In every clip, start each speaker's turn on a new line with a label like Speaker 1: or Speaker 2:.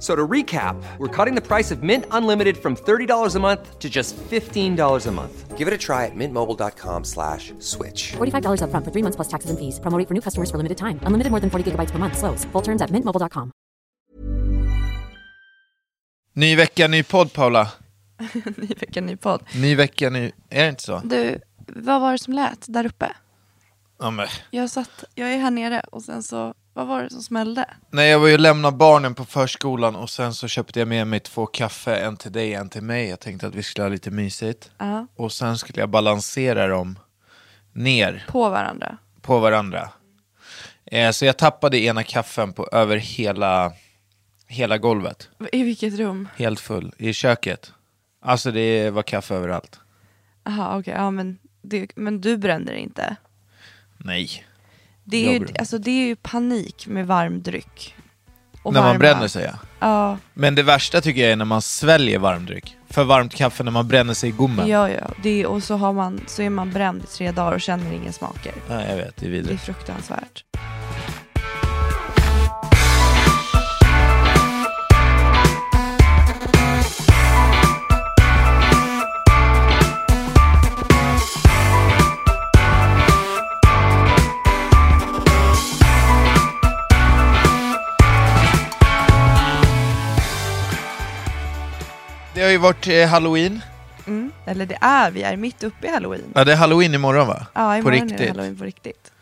Speaker 1: So to recap, we're cutting the price of Mint Unlimited from $30 a month to just $15 a month. Give it a try at mintmobile.com slash switch.
Speaker 2: $45 up front for three months plus taxes and fees. Promo rate for new customers for limited time. Unlimited more than 40 gigabytes per month. Slows. Full terms at mintmobile.com.
Speaker 3: Ny vecka, ny podd Paula.
Speaker 4: ny vecka, ny podd.
Speaker 3: Ny vecka, ny... Är det inte så?
Speaker 4: Du, vad var det som lät där uppe?
Speaker 3: Ja, men.
Speaker 4: Jag satt, jag är här nere och sen så, vad var det som smällde?
Speaker 3: Nej, jag var ju och lämnade barnen på förskolan och sen så köpte jag med mig två kaffe, en till dig, en till mig. Jag tänkte att vi skulle ha lite mysigt.
Speaker 4: Ja.
Speaker 3: Och sen skulle jag balansera dem ner
Speaker 4: På varandra.
Speaker 3: på varandra. Eh, så jag tappade ena kaffen på, över hela, hela golvet.
Speaker 4: I vilket rum?
Speaker 3: Helt full. I köket. Alltså det var kaffe överallt.
Speaker 4: Jaha, okej, ja men, det, men du brände det inte.
Speaker 3: Nej.
Speaker 4: Det är,
Speaker 3: Jag
Speaker 4: ju,
Speaker 3: brände.
Speaker 4: alltså, det är ju panik med varm dryck. Och
Speaker 3: När man
Speaker 4: varma-
Speaker 3: bränner sig ja.
Speaker 4: Ja,
Speaker 3: Men det värsta tycker jag är när man sväljer varmdryck. För varmt kaffe när man bränner sig i gommen.
Speaker 4: ja, ja. Det är, och så, har man, så är man bränd i tre dagar och känner inga smaker.
Speaker 3: Nej, jag vet, det är
Speaker 4: Det är
Speaker 3: vidrigt.
Speaker 4: fruktansvärt.
Speaker 3: Det har ju varit eh, halloween.
Speaker 4: Mm. Eller det är, vi är mitt uppe i halloween.
Speaker 3: Ja, det är halloween imorgon va?
Speaker 4: Ja,
Speaker 3: på
Speaker 4: imorgon
Speaker 3: riktigt.
Speaker 4: är det halloween på riktigt.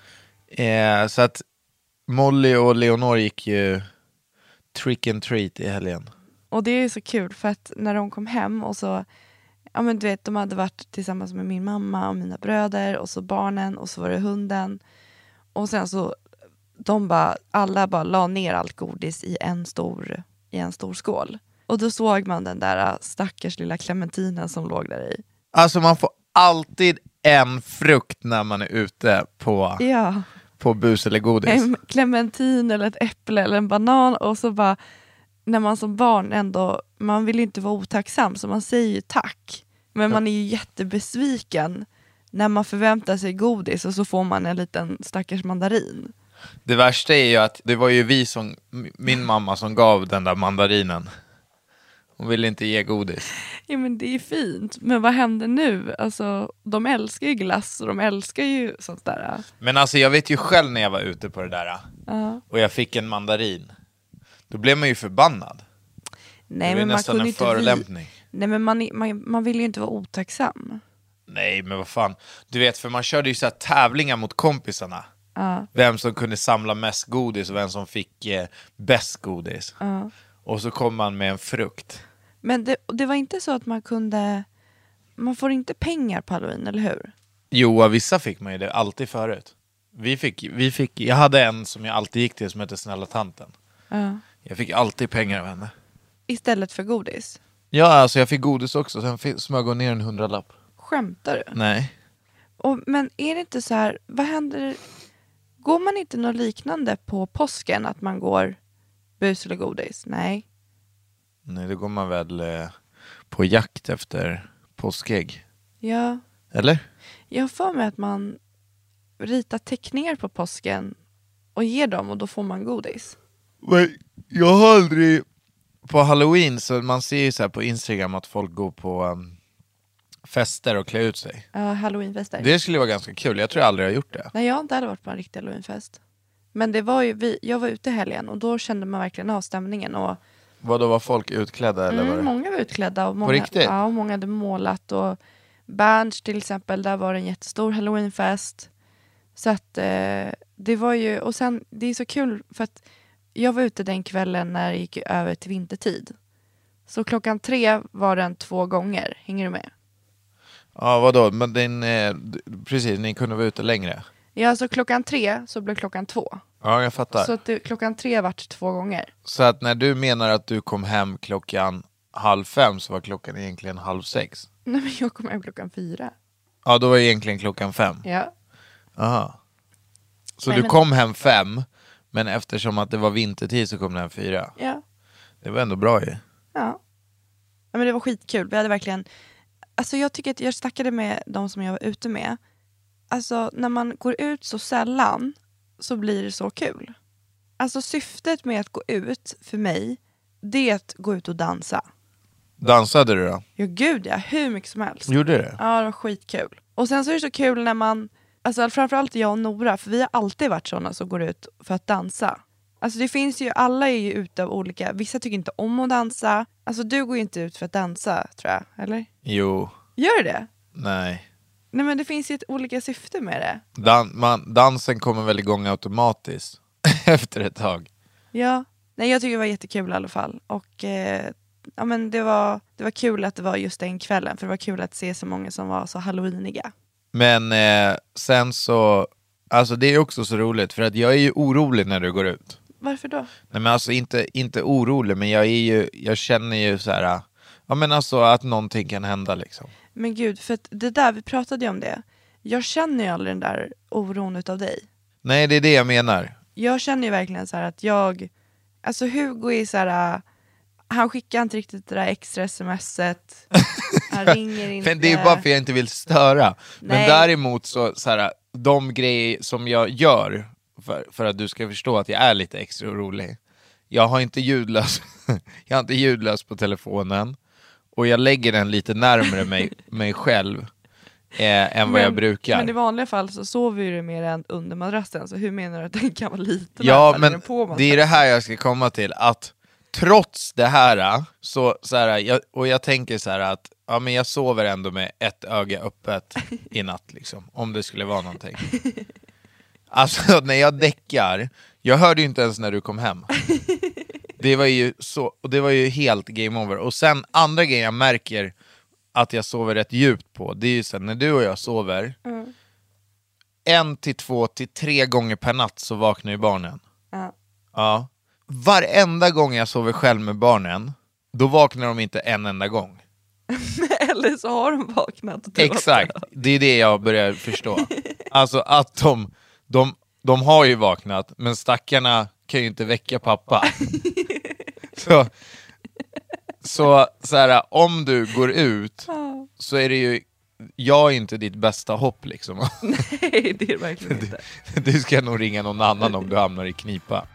Speaker 3: Eh, så att Molly och Leonor gick ju trick and treat i helgen.
Speaker 4: Och det är ju så kul för att när de kom hem och så, ja men du vet de hade varit tillsammans med min mamma och mina bröder och så barnen och så var det hunden. Och sen så, de bara, alla bara la ner allt godis i en stor, i en stor skål. Och då såg man den där äh, stackars lilla clementinen som låg där i.
Speaker 3: Alltså man får alltid en frukt när man är ute på,
Speaker 4: Ja,
Speaker 3: på bus eller godis.
Speaker 4: en clementin eller ett äpple eller en banan och så bara, när man som barn ändå, man vill ju inte vara otacksam så man säger ju tack. Men man är ju jättebesviken när man förväntar sig godis och så får man en liten stackars mandarin.
Speaker 3: Det värsta är ju att det var ju vi som, m- min mamma som gav den där mandarinen. Hon ville inte ge godis.
Speaker 4: Ja men det är fint, men vad händer nu? Alltså, de älskar ju glass och de älskar ju sånt där.
Speaker 3: Men alltså jag vet ju själv när jag var ute på det där
Speaker 4: Ja.
Speaker 3: och jag fick en mandarin. Då blev man ju förbannad.
Speaker 4: Nej,
Speaker 3: det var
Speaker 4: men man
Speaker 3: nästan
Speaker 4: kunde
Speaker 3: en
Speaker 4: inte vi...
Speaker 3: förolämpning.
Speaker 4: Nej men man, är- man, man vill ju inte vara otacksam.
Speaker 3: Nej, men vad fan. Du vet, för man körde ju så här tävlingar mot kompisarna. Vem som kunde samla mest godis och vem som fick eh, bäst godis. Och så kom man med en frukt.
Speaker 4: Men det, det var inte så att man kunde, man får inte pengar på halloween, eller hur?
Speaker 3: Jo, av vissa fick man ju det alltid förut. Vi fick, vi fick, jag hade en som jag alltid gick till som hette Snälla tanten.
Speaker 4: Ja.
Speaker 3: Jag fick alltid pengar av henne.
Speaker 4: Istället för godis.
Speaker 3: Ja, alltså jag fick godis också, sen fick, smög hon ner en hundralapp.
Speaker 4: Skämtar du?
Speaker 3: Nej.
Speaker 4: Och, men är det inte så här, vad händer? Går man inte något liknande på påsken? Att man går bus eller godis? Nej.
Speaker 3: Nej, då går man väl eh, på jakt efter påskägg.
Speaker 4: Ja,
Speaker 3: Eller?
Speaker 4: jag har för mig att man ritar teckningar på påsken och ger dem och då får man godis.
Speaker 3: Men jag har aldrig... På halloween, så man ser ju så här på instagram att folk går på um, fester och klär ut sig.
Speaker 4: Ja, halloweenfester.
Speaker 3: Det skulle vara ganska kul, jag tror jag aldrig har gjort det.
Speaker 4: Nej, jag har inte heller varit på en riktig halloweenfest. Men det var ju, vi, jag var ute i helgen och då kände man verkligen av stämningen. Och,
Speaker 3: Vadå, var folk utklädda eller
Speaker 4: mm,
Speaker 3: vad det?
Speaker 4: många var utklädda och många,
Speaker 3: riktigt?
Speaker 4: ja, och många hade målat. Och Berns till exempel, där var det en jättestor halloweenfest. Så att eh, det var ju, och sen det är så kul för att jag var ute den kvällen när det gick över till vintertid. Så klockan tre var den två gånger, hänger du med?
Speaker 3: Ja, vadå, men din, eh, d- precis, ni kunde vara ute längre.
Speaker 4: Ja, så klockan tre så blev klockan två.
Speaker 3: Ja, jag fattar.
Speaker 4: Så
Speaker 3: Så...
Speaker 4: att det, klockan tre vart två gånger.
Speaker 3: att när du menar att du kom hem klockan halv fem så var klockan egentligen halv sex?
Speaker 4: Nej men jag kom hem klockan fyra.
Speaker 3: Ja, då var egentligen klockan fem.
Speaker 4: Ja.
Speaker 3: Aha. Så
Speaker 4: Nej,
Speaker 3: du
Speaker 4: men-
Speaker 3: kom hem fem, men eftersom att det var vintertid så kom du hem fyra.
Speaker 4: Ja.
Speaker 3: Det var ändå bra ju.
Speaker 4: Ja. ja men det var skitkul. Vi hade verkligen... Alltså jag tycker att jag snackade med de som jag var ute med. Alltså när man går ut så sällan så blir det så kul. Alltså syftet med att gå ut för mig, det är att gå ut och dansa.
Speaker 3: Dansade du då?
Speaker 4: Ja gud ja, hur mycket som helst.
Speaker 3: Gjorde du?
Speaker 4: Ja, det var skitkul. Och sen så är det så kul när man, alltså framförallt jag och Nora, för vi har alltid varit sådana som går ut för att dansa. Alltså det finns ju, alla är ju ute av olika, vissa tycker inte om att dansa. Alltså du går ju inte ut för att dansa tror jag, eller?
Speaker 3: Jo.
Speaker 4: Gör du det?
Speaker 3: Nej.
Speaker 4: Nej men det finns ju ett olika syfte med det.
Speaker 3: Dan- man, dansen kommer väl igång automatiskt efter ett tag.
Speaker 4: Ja. Nej jag tycker det var jättekul i alla fall. Och eh, ja men det var, det var kul att det var just den kvällen, för det var kul att se så många som var så halloweeniga.
Speaker 3: Men eh, sen så, alltså det är också så roligt för att jag är ju orolig när du går ut.
Speaker 4: Varför då?
Speaker 3: Nej men alltså inte, inte orolig men jag är ju, jag känner ju så här, ja men alltså att någonting kan hända liksom.
Speaker 4: Men gud, för att det där, vi pratade ju om det. Jag känner ju aldrig den där oron utav dig.
Speaker 3: Nej det är det jag menar.
Speaker 4: Jag känner ju verkligen så här att jag, alltså Hugo är så här, äh, han skickar inte riktigt det där extra smset. Han ringer inte.
Speaker 3: Men det är bara för jag inte vill störa. Men
Speaker 4: Nej.
Speaker 3: däremot så, så här, de grejer som jag gör, för, för att du ska förstå att jag är lite extra orolig. Jag har inte ljudlös, jag har inte ljudlös på telefonen och jag lägger den lite närmare mig, mig själv eh, än vad jag brukar.
Speaker 4: Men i vanliga fall så sover ju du med den under madrassen, så hur menar du att den kan vara liten?
Speaker 3: Ja,
Speaker 4: eller är den
Speaker 3: men
Speaker 4: på madrassen?
Speaker 3: det är det här jag ska komma till, att trots det här, så, så här jag, och jag tänker så här att ja, men jag sover ändå med ett öga öppet i natt, liksom, om det skulle vara någonting. Alltså när jag däckar, jag hörde ju inte ens när du kom hem. Det var ju, så, och det var ju helt game over. Och sen andra grejen jag märker att jag sover rätt djupt på, det är ju så här, när du och jag sover, en till två till tre gånger per natt så vaknar ju barnen.
Speaker 4: Ja.
Speaker 3: Ja. Varenda gång jag sover själv med barnen, då vaknar de inte en enda gång.
Speaker 4: Eller så har de vaknat. och du har
Speaker 3: Exakt, det är det jag börjar förstå. Alltså att de, de, de har ju vaknat, men stackarna kan ju inte väcka pappa. Så, så, så här, om du går ut så är det ju, jag är inte ditt bästa hopp liksom.
Speaker 4: Nej, det är det verkligen inte.
Speaker 3: Du ska nog ringa någon annan om du hamnar i knipa.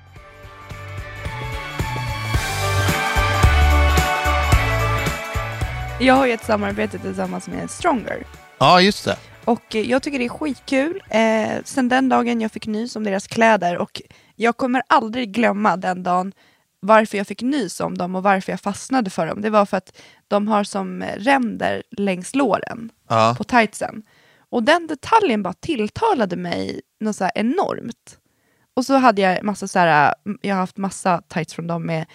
Speaker 4: Jag har ju ett samarbete tillsammans med Stronger.
Speaker 3: Ja, just det.
Speaker 4: Och eh, jag tycker det är skitkul. Eh, sen den dagen jag fick nys om deras kläder och jag kommer aldrig glömma den dagen varför jag fick nys om dem och varför jag fastnade för dem. Det var för att de har som eh, ränder längs låren
Speaker 3: Ja.
Speaker 4: på tightsen. Och den detaljen bara tilltalade mig något så här enormt. Och så hade jag massa så här, eh, jag har haft massa tights från dem med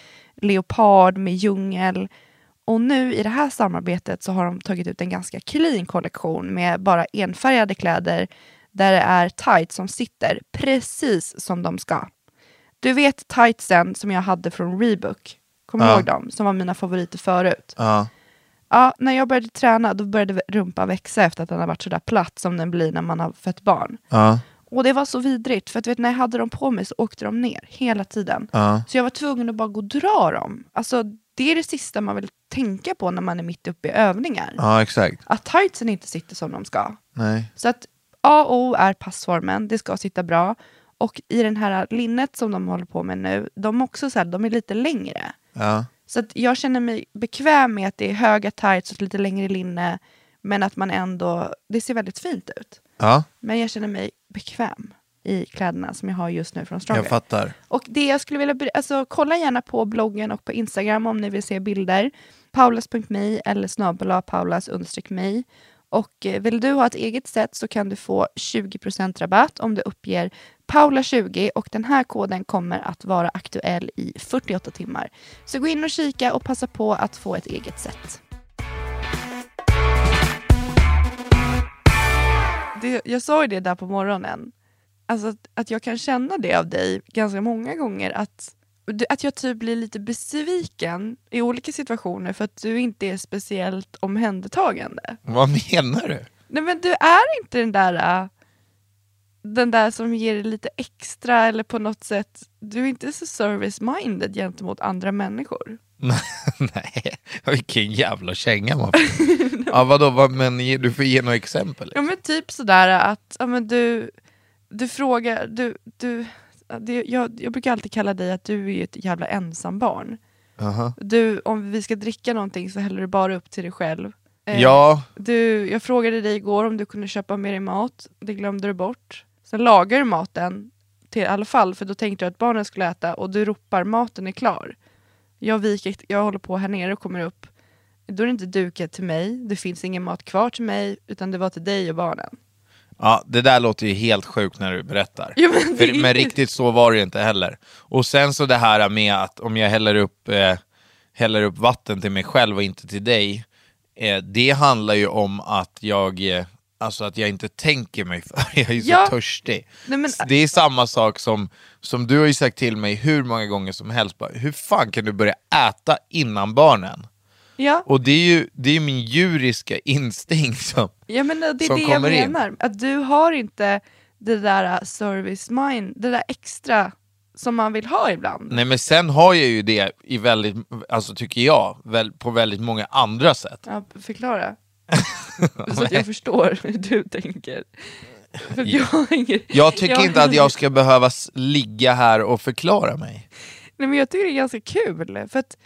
Speaker 4: leopard, med djungel. Och nu i det här samarbetet så har de tagit ut en ganska clean kollektion med bara enfärgade kläder där det är tights som sitter precis som de ska. Du vet tightsen som jag hade från Reebok, kommer du
Speaker 3: Ja.
Speaker 4: ihåg dem? Som var mina favoriter förut.
Speaker 3: Ja.
Speaker 4: Ja, när jag började träna då började rumpan växa efter att den har varit sådär platt som den blir när man har fött barn.
Speaker 3: Ja.
Speaker 4: Och det var så vidrigt, för att, vet, när jag hade dem på mig så åkte de ner hela tiden. Så jag var tvungen att bara gå och dra dem. Alltså, det är det sista man vill tänka på när man är mitt uppe i övningar.
Speaker 3: ja, exakt.
Speaker 4: Att tightsen inte sitter som de ska.
Speaker 3: Nej.
Speaker 4: Så att A och O är passformen, det ska sitta bra. Och i den här linnet som de håller på med nu, de är också så här, de är lite längre.
Speaker 3: Ja.
Speaker 4: Så att jag känner mig bekväm med att det är höga tights och ett lite längre linne, men att man ändå, det ser väldigt fint ut.
Speaker 3: Ja.
Speaker 4: Men jag känner mig bekväm. i kläderna som jag har just nu från Stronger.
Speaker 3: Jag fattar.
Speaker 4: Och det jag skulle vilja, ber- alltså kolla gärna på bloggen och på Instagram om ni vill se bilder. Paulas.me eller snabel-a paulas me. Och eh, vill du ha ett eget sätt så kan du få 20% rabatt om du uppger Paula20 och den här koden kommer att vara aktuell i 48 timmar. Så gå in och kika och passa på att få ett eget sätt. Det, jag sa ju det där på morgonen, alltså att, att jag kan känna det av dig ganska många gånger att, att jag typ blir lite besviken i olika situationer för att du inte är speciellt omhändertagande.
Speaker 3: Vad menar du?
Speaker 4: Nej men du är inte den där äh, den där som ger dig lite extra eller på något sätt, du är inte så service-minded gentemot andra människor.
Speaker 3: Nej, vilken jävla känga man får. ja, vadå, vad, men ge- du får ge några exempel.
Speaker 4: Ja men typ sådär att ja, men du, du frågar, du, du, det, jag, jag brukar alltid kalla dig att du är ju ett jävla ensambarn.
Speaker 3: Aha.
Speaker 4: Du, om vi ska dricka någonting så häller du bara upp till dig själv. Eh,
Speaker 3: Ja,
Speaker 4: Du, jag frågade dig igår om du kunde köpa med dig mat, det glömde du bort. Sen lagar du maten till i alla fall för då tänkte jag att barnen skulle äta och du ropar maten är klar. Jag viker, jag håller på här nere och kommer upp. Då är det inte dukat till mig, det finns ingen mat kvar till mig utan det var till dig och barnen.
Speaker 3: ja, det där låter ju helt sjukt när du berättar.
Speaker 4: Jo, men det är-
Speaker 3: För, men riktigt så var det ju inte heller. Och sen så det här med att om jag häller upp, eh, häller upp vatten till mig själv och inte till dig, eh, det handlar ju om att jag, eh, alltså att jag inte tänker mig för, jag är ju
Speaker 4: Ja.
Speaker 3: så törstig.
Speaker 4: Nej, men-
Speaker 3: Det är samma sak som, som du har ju sagt till mig hur många gånger som helst, bara, hur fan kan du börja äta innan barnen?
Speaker 4: Ja,
Speaker 3: Och det är ju det är ju min djuriska instinkt som,
Speaker 4: ja men det är
Speaker 3: som
Speaker 4: det jag
Speaker 3: kommer in.
Speaker 4: menar. Att du har inte det där äh, service mind, det där extra som man vill ha ibland.
Speaker 3: Nej men sen har jag ju det i väldigt, alltså tycker jag, väl, på väldigt många andra sätt.
Speaker 4: Ja, förklara. Så att jag förstår hur du tänker. För jag har ingen-
Speaker 3: Jag tycker inte att jag ska behöva s- ligga här och förklara mig.
Speaker 4: Nej, men jag tycker det är ganska kul. För att,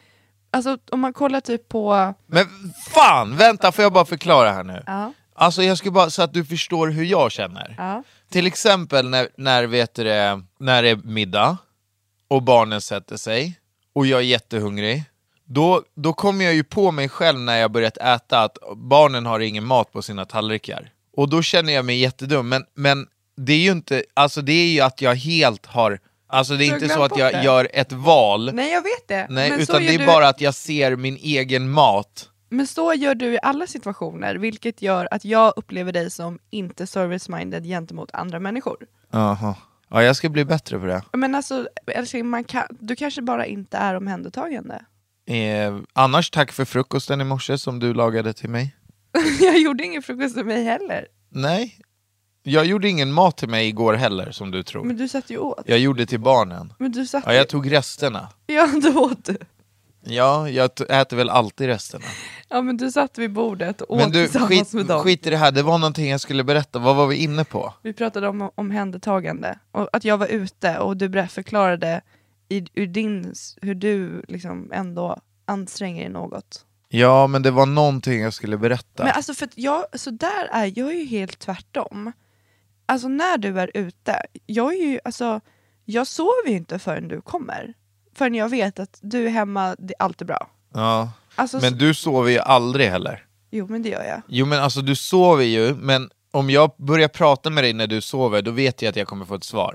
Speaker 4: alltså, om man kollar typ på...
Speaker 3: Men fan, vänta får jag bara förklara här nu?
Speaker 4: Ja.
Speaker 3: Alltså jag ska bara, så att du förstår hur jag känner.
Speaker 4: Ja.
Speaker 3: Till exempel när, när, vet du det, när det är middag och barnen sätter sig och jag är jättehungrig. Då, då kommer jag ju på mig själv när jag börjat äta att barnen har ingen mat på sina tallrikar. Och då känner jag mig jättedum. Men, men det är ju inte, alltså det är ju att jag helt har, alltså det är
Speaker 4: Du har
Speaker 3: inte så
Speaker 4: glömt
Speaker 3: att jag
Speaker 4: bort det.
Speaker 3: gör ett val.
Speaker 4: Nej, jag vet det.
Speaker 3: Nej,
Speaker 4: men, så
Speaker 3: utan det
Speaker 4: gör
Speaker 3: är
Speaker 4: du,
Speaker 3: bara att jag ser min egen mat.
Speaker 4: men så gör du i alla situationer, vilket gör att jag upplever dig som inte service-minded gentemot andra människor.
Speaker 3: Aha. Ja, jag ska bli bättre på det.
Speaker 4: Men alltså, älskling, man kan, du kanske bara inte är omhändertagande.
Speaker 3: Eh, annars, tack för frukosten i morse som du lagade till mig.
Speaker 4: jag gjorde ingen frukost till mig heller.
Speaker 3: Nej. Jag gjorde ingen mat till mig igår heller, som du tror.
Speaker 4: Men du satt ju åt.
Speaker 3: Jag gjorde till barnen.
Speaker 4: Men du satt
Speaker 3: Ja, jag tog resterna.
Speaker 4: Ja, då åt du.
Speaker 3: Ja, jag t- äter väl alltid resterna.
Speaker 4: Ja men du satt vid bordet och
Speaker 3: Men
Speaker 4: åt
Speaker 3: du,
Speaker 4: tillsammans
Speaker 3: skit,
Speaker 4: med dem.
Speaker 3: skit i det här. Det var någonting jag skulle berätta. Vad var vi inne på?
Speaker 4: Vi pratade om omhändertagande, och att jag var ute och du ber- förklarade i, ur din, s- hur du liksom ändå anstränger dig något.
Speaker 3: Ja, men det var någonting jag skulle berätta.
Speaker 4: Men alltså för att jag, så där är jag är ju helt tvärtom. Alltså när du är ute, jag är ju, alltså jag sover ju inte förrän du kommer. Förrän jag vet att du är hemma, det, allt är bra.
Speaker 3: ja.
Speaker 4: Alltså,
Speaker 3: men
Speaker 4: s-
Speaker 3: du sover ju aldrig heller.
Speaker 4: Jo men det gör jag.
Speaker 3: Jo men alltså du sover ju, men om jag börjar prata med dig när du sover, då vet jag att jag kommer få ett svar.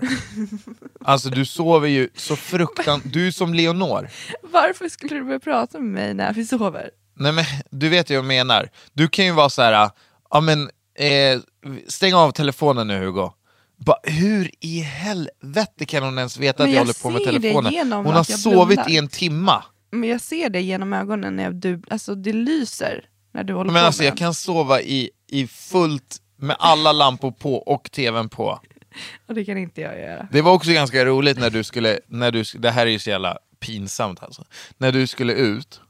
Speaker 3: Alltså du sover ju så fruktan... Du är som Leonor.
Speaker 4: Varför skulle du börja prata med mig när vi sover?
Speaker 3: Nej men du vet ju vad jag menar. Du kan ju vara så här, ja men eh, stäng av telefonen nu Hugo. Bara, hur i helvete kan hon ens veta
Speaker 4: Men
Speaker 3: att jag,
Speaker 4: jag
Speaker 3: håller på med
Speaker 4: ser det
Speaker 3: telefonen?
Speaker 4: genom
Speaker 3: Hon har
Speaker 4: att jag
Speaker 3: sovit
Speaker 4: blundar.
Speaker 3: i en timma.
Speaker 4: Men jag ser det genom ögonen när jag, du, alltså det lyser när du håller
Speaker 3: Men
Speaker 4: på
Speaker 3: alltså
Speaker 4: med
Speaker 3: jag
Speaker 4: den.
Speaker 3: kan sova i, i fullt med alla lampor på och tvn på.
Speaker 4: Och det kan inte jag göra.
Speaker 3: Det var också ganska roligt när du skulle, när du, det här är ju så jävla pinsamt alltså. När du skulle ut,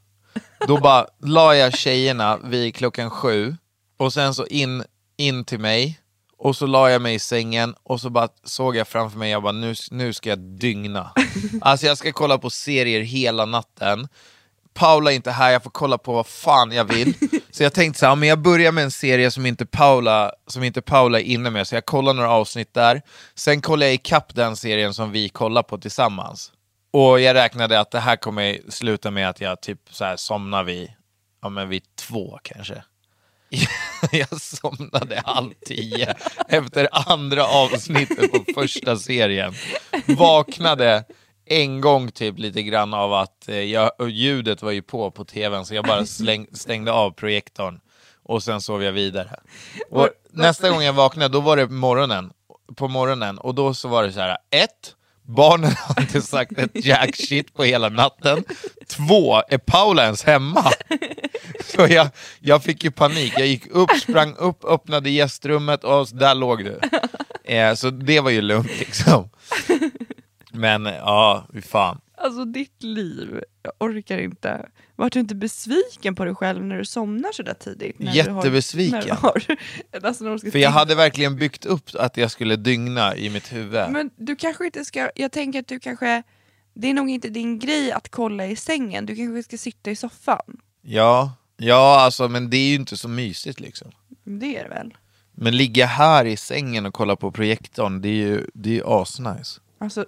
Speaker 3: då bara la jag tjejerna vid klockan sju och sen så in, in till mig och så la jag mig i sängen och så bara såg jag framför mig, jag bara nu, nu ska jag dygna. Alltså jag ska kolla på serier hela natten. Paula är inte här, jag får kolla på vad fan jag vill. Så jag tänkte så här, ja, men jag börjar med en serie som inte, Paula, som inte Paula är inne med, så jag kollar några avsnitt där. Sen kollar jag ikapp den serien som vi kollar på tillsammans. Och jag räknade att det här kommer sluta med att jag typ så här somnar vid, ja men vid två kanske. Jag somnade halv tio efter andra avsnittet på första serien. Vaknade en gång typ lite grann av att eh, jag, och ljudet var ju på på tvn så jag bara släng, stängde av projektorn och sen sov jag vidare. Och nästa gång jag vaknade då var det på morgonen, på morgonen och då så var det så här, ett, Barnen har inte sagt ett jack shit på hela natten. Två, är Paula ens hemma? Så jag, jag fick ju panik, jag gick upp, sprang upp, öppnade gästrummet och så där låg du. Eh, så det var ju lugnt liksom. Men eh, ja, fy fan.
Speaker 4: Alltså ditt liv, jag orkar inte. Vart du inte besviken på dig själv när du somnar sådär tidigt? När
Speaker 3: Jättebesviken.
Speaker 4: Du har, när du har, alltså när de ska
Speaker 3: För jag
Speaker 4: titta.
Speaker 3: hade verkligen byggt upp att jag skulle dygna i mitt huvud.
Speaker 4: Men du kanske inte ska, jag tänker att du kanske, det är nog inte din grej att kolla i sängen, du kanske ska sitta i soffan.
Speaker 3: Ja, ja alltså, men det är ju inte så mysigt liksom.
Speaker 4: Men Det är det väl?
Speaker 3: Men ligga här i sängen och kolla på projektorn, det är ju, det är ju asnice.
Speaker 4: Alltså,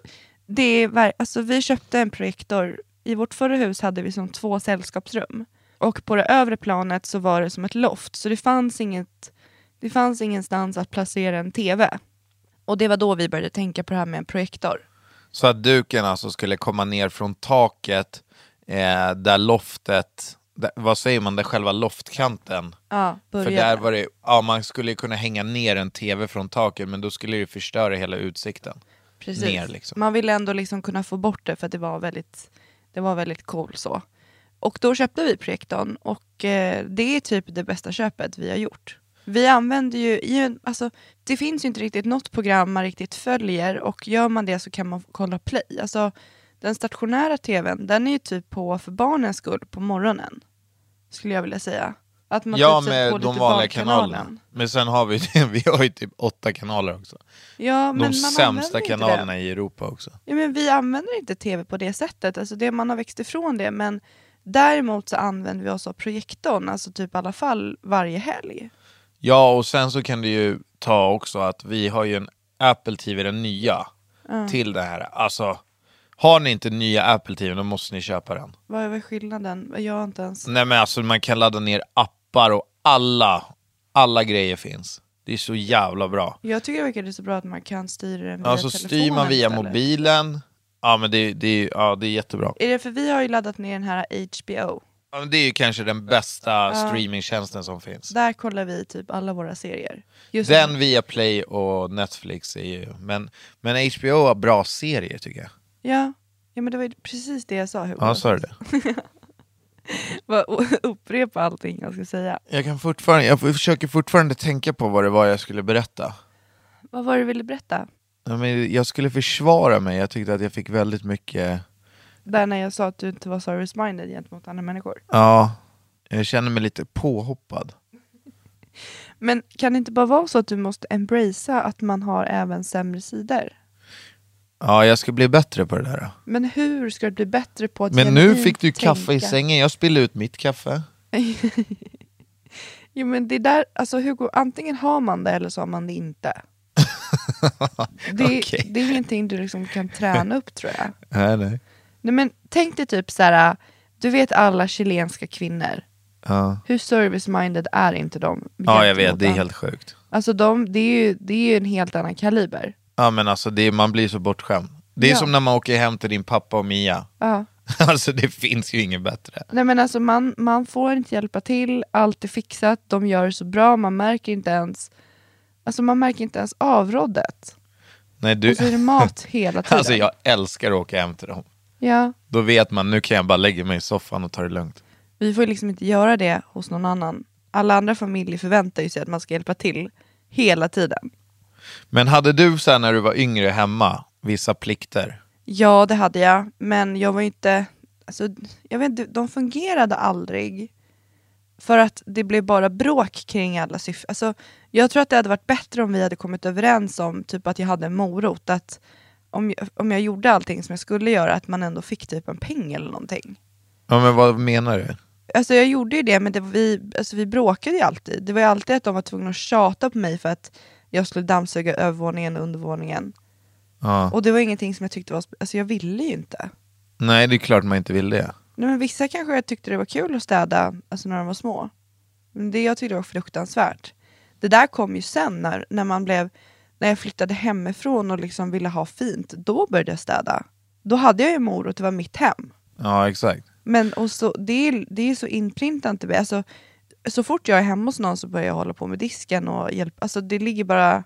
Speaker 4: det är, ver- alltså, vi köpte en projektor, i vårt förra hus hade vi som två sällskapsrum. Och på det övre planet så var det som ett loft, så det fanns, inget, det fanns ingenstans att placera en TV. Och det var då vi började tänka på det här med en projektor.
Speaker 3: Så att duken alltså skulle komma ner från taket eh, där loftet, där, vad säger man, där själva loftkanten.
Speaker 4: Ja,
Speaker 3: För där var det, ja man skulle ju kunna hänga ner en tv från taket men då skulle det ju förstöra hela utsikten.
Speaker 4: Precis.
Speaker 3: ner, liksom.
Speaker 4: Man ville ändå liksom kunna få bort det för att det var väldigt, det var väldigt cool så. Och då köpte vi projektorn och eh, det är typ det bästa köpet vi har gjort. Vi använder ju, i en- alltså, det finns ju inte riktigt något program man riktigt följer och gör man det så kan man kolla play. Alltså, den stationära tvn den är ju typ på för barnens skull på morgonen. Skulle jag vilja säga. Att man
Speaker 3: ja
Speaker 4: typ sätter
Speaker 3: med
Speaker 4: på
Speaker 3: de
Speaker 4: lite
Speaker 3: vanliga
Speaker 4: barnkanalen.
Speaker 3: kanalerna. Men sen har vi, vi har ju typ åtta kanaler också.
Speaker 4: Ja, men man
Speaker 3: de
Speaker 4: använder
Speaker 3: sämsta
Speaker 4: inte det.
Speaker 3: kanalerna i Europa också.
Speaker 4: Ja, men vi använder inte tv på det sättet, alltså det man har växt ifrån det. Men däremot så använder vi oss av projektorn, alltså typ i alla fall varje helg.
Speaker 3: Ja, och sen så kan du ju ta också att vi har ju en Apple TV, den nya, till det här. Alltså, har ni inte nya Apple TV, då måste ni köpa den.
Speaker 4: Vad är väl skillnaden? Jag har inte ens...
Speaker 3: Nej men alltså man kan ladda ner appar och alla, alla grejer finns. Det är så jävla bra.
Speaker 4: Jag tycker det verkar så bra att man kan styra den via
Speaker 3: Alltså styr man
Speaker 4: telefonen
Speaker 3: via
Speaker 4: istället.
Speaker 3: mobilen, ja men det, det, är- ja, det är jättebra.
Speaker 4: Är det för vi har ju laddat ner den här HBO.
Speaker 3: Ja, men det är ju kanske den bästa streamingtjänsten som finns.
Speaker 4: Där kollar vi typ alla våra serier. Just
Speaker 3: Den via Play och Netflix är ju, men, men HBO har bra serier tycker jag.
Speaker 4: Ja. ja, men det var ju precis det jag sa Hugo.
Speaker 3: Ja, sa du det?
Speaker 4: Bara o- Upprepa allting jag ska säga.
Speaker 3: Jag, kan fortfarande, jag försöker fortfarande tänka på vad det var jag skulle berätta.
Speaker 4: Vad var det du ville berätta?
Speaker 3: Ja, men Jag skulle försvara mig, jag tyckte att jag fick väldigt mycket
Speaker 4: Där när jag sa att du inte var service-minded gentemot andra människor.
Speaker 3: Ja, jag känner mig lite påhoppad.
Speaker 4: Men kan det inte bara vara så att du måste embracea att man har även sämre sidor?
Speaker 3: Ja, jag ska bli bättre på det där. då.
Speaker 4: Men hur ska du bli bättre på att
Speaker 3: Men nu
Speaker 4: genuint
Speaker 3: fick du kaffe i
Speaker 4: tänka?
Speaker 3: sängen, jag spillde ut mitt kaffe.
Speaker 4: Jo men det där, alltså Hugo, antingen har man det eller så har man det inte. det,
Speaker 3: Okej.
Speaker 4: det är ingenting du liksom kan träna upp tror jag.
Speaker 3: Nej, nej.
Speaker 4: Nej, men tänk dig typ så här, du vet alla chilenska kvinnor.
Speaker 3: Ja,
Speaker 4: Hur service-minded är inte de?
Speaker 3: ja jag vet,
Speaker 4: gentemot
Speaker 3: det är
Speaker 4: andra?
Speaker 3: helt sjukt.
Speaker 4: Alltså de, det är ju, det är ju en helt annan kaliber.
Speaker 3: Ja, men alltså det, man blir så bortskämd. Det är
Speaker 4: Ja.
Speaker 3: som när man åker hem till din pappa och Mia.
Speaker 4: Ja.
Speaker 3: Alltså det finns ju inget bättre.
Speaker 4: Nej men alltså man, man får inte hjälpa till, allt är fixat, de gör det så bra, man märker inte ens Alltså man märker inte ens avrådet.
Speaker 3: Nej, du...
Speaker 4: Och så är det mat hela tiden.
Speaker 3: Alltså jag älskar att åka hem till dem.
Speaker 4: Ja,
Speaker 3: Då vet man, nu kan jag bara lägga mig i soffan och ta det lugnt.
Speaker 4: vi får ju liksom inte göra det hos någon annan. Alla andra familjer förväntar ju sig att man ska hjälpa till hela tiden.
Speaker 3: Men hade du så här när du var yngre hemma, vissa plikter?
Speaker 4: Ja, det hade jag, men jag var ju inte... Alltså, jag vet inte, de fungerade aldrig. För att det blev bara bråk kring alla syften. Alltså, jag tror att det hade varit bättre om vi hade kommit överens om typ att jag hade en morot. Att om, jag- om jag gjorde allting som jag skulle göra, att man ändå fick typ en peng eller någonting.
Speaker 3: Ja, men vad menar du?
Speaker 4: Alltså jag gjorde ju det, men det var vi, alltså vi bråkade ju alltid. Det var ju alltid att de var tvungna att tjata på mig för att jag skulle dammsuga övervåningen och undervåningen.
Speaker 3: Ja.
Speaker 4: Och det var ingenting som jag tyckte var... sp- Alltså jag ville ju inte.
Speaker 3: Nej, det är klart man inte vill det.
Speaker 4: Nej, men vissa kanske jag tyckte det var kul att städa alltså när de var små. Men det jag tyckte var fruktansvärt. Det där kom ju sen när, när man blev... När jag flyttade hemifrån och liksom ville ha fint, då började jag städa. Då hade jag ju en morot, det var mitt hem.
Speaker 3: Ja, exakt.
Speaker 4: Men och så, det, är, det är så inprintat i mig. Alltså, så fort jag är hemma hos någon så börjar jag hålla på med disken och hjälpa. Alltså, det ligger bara...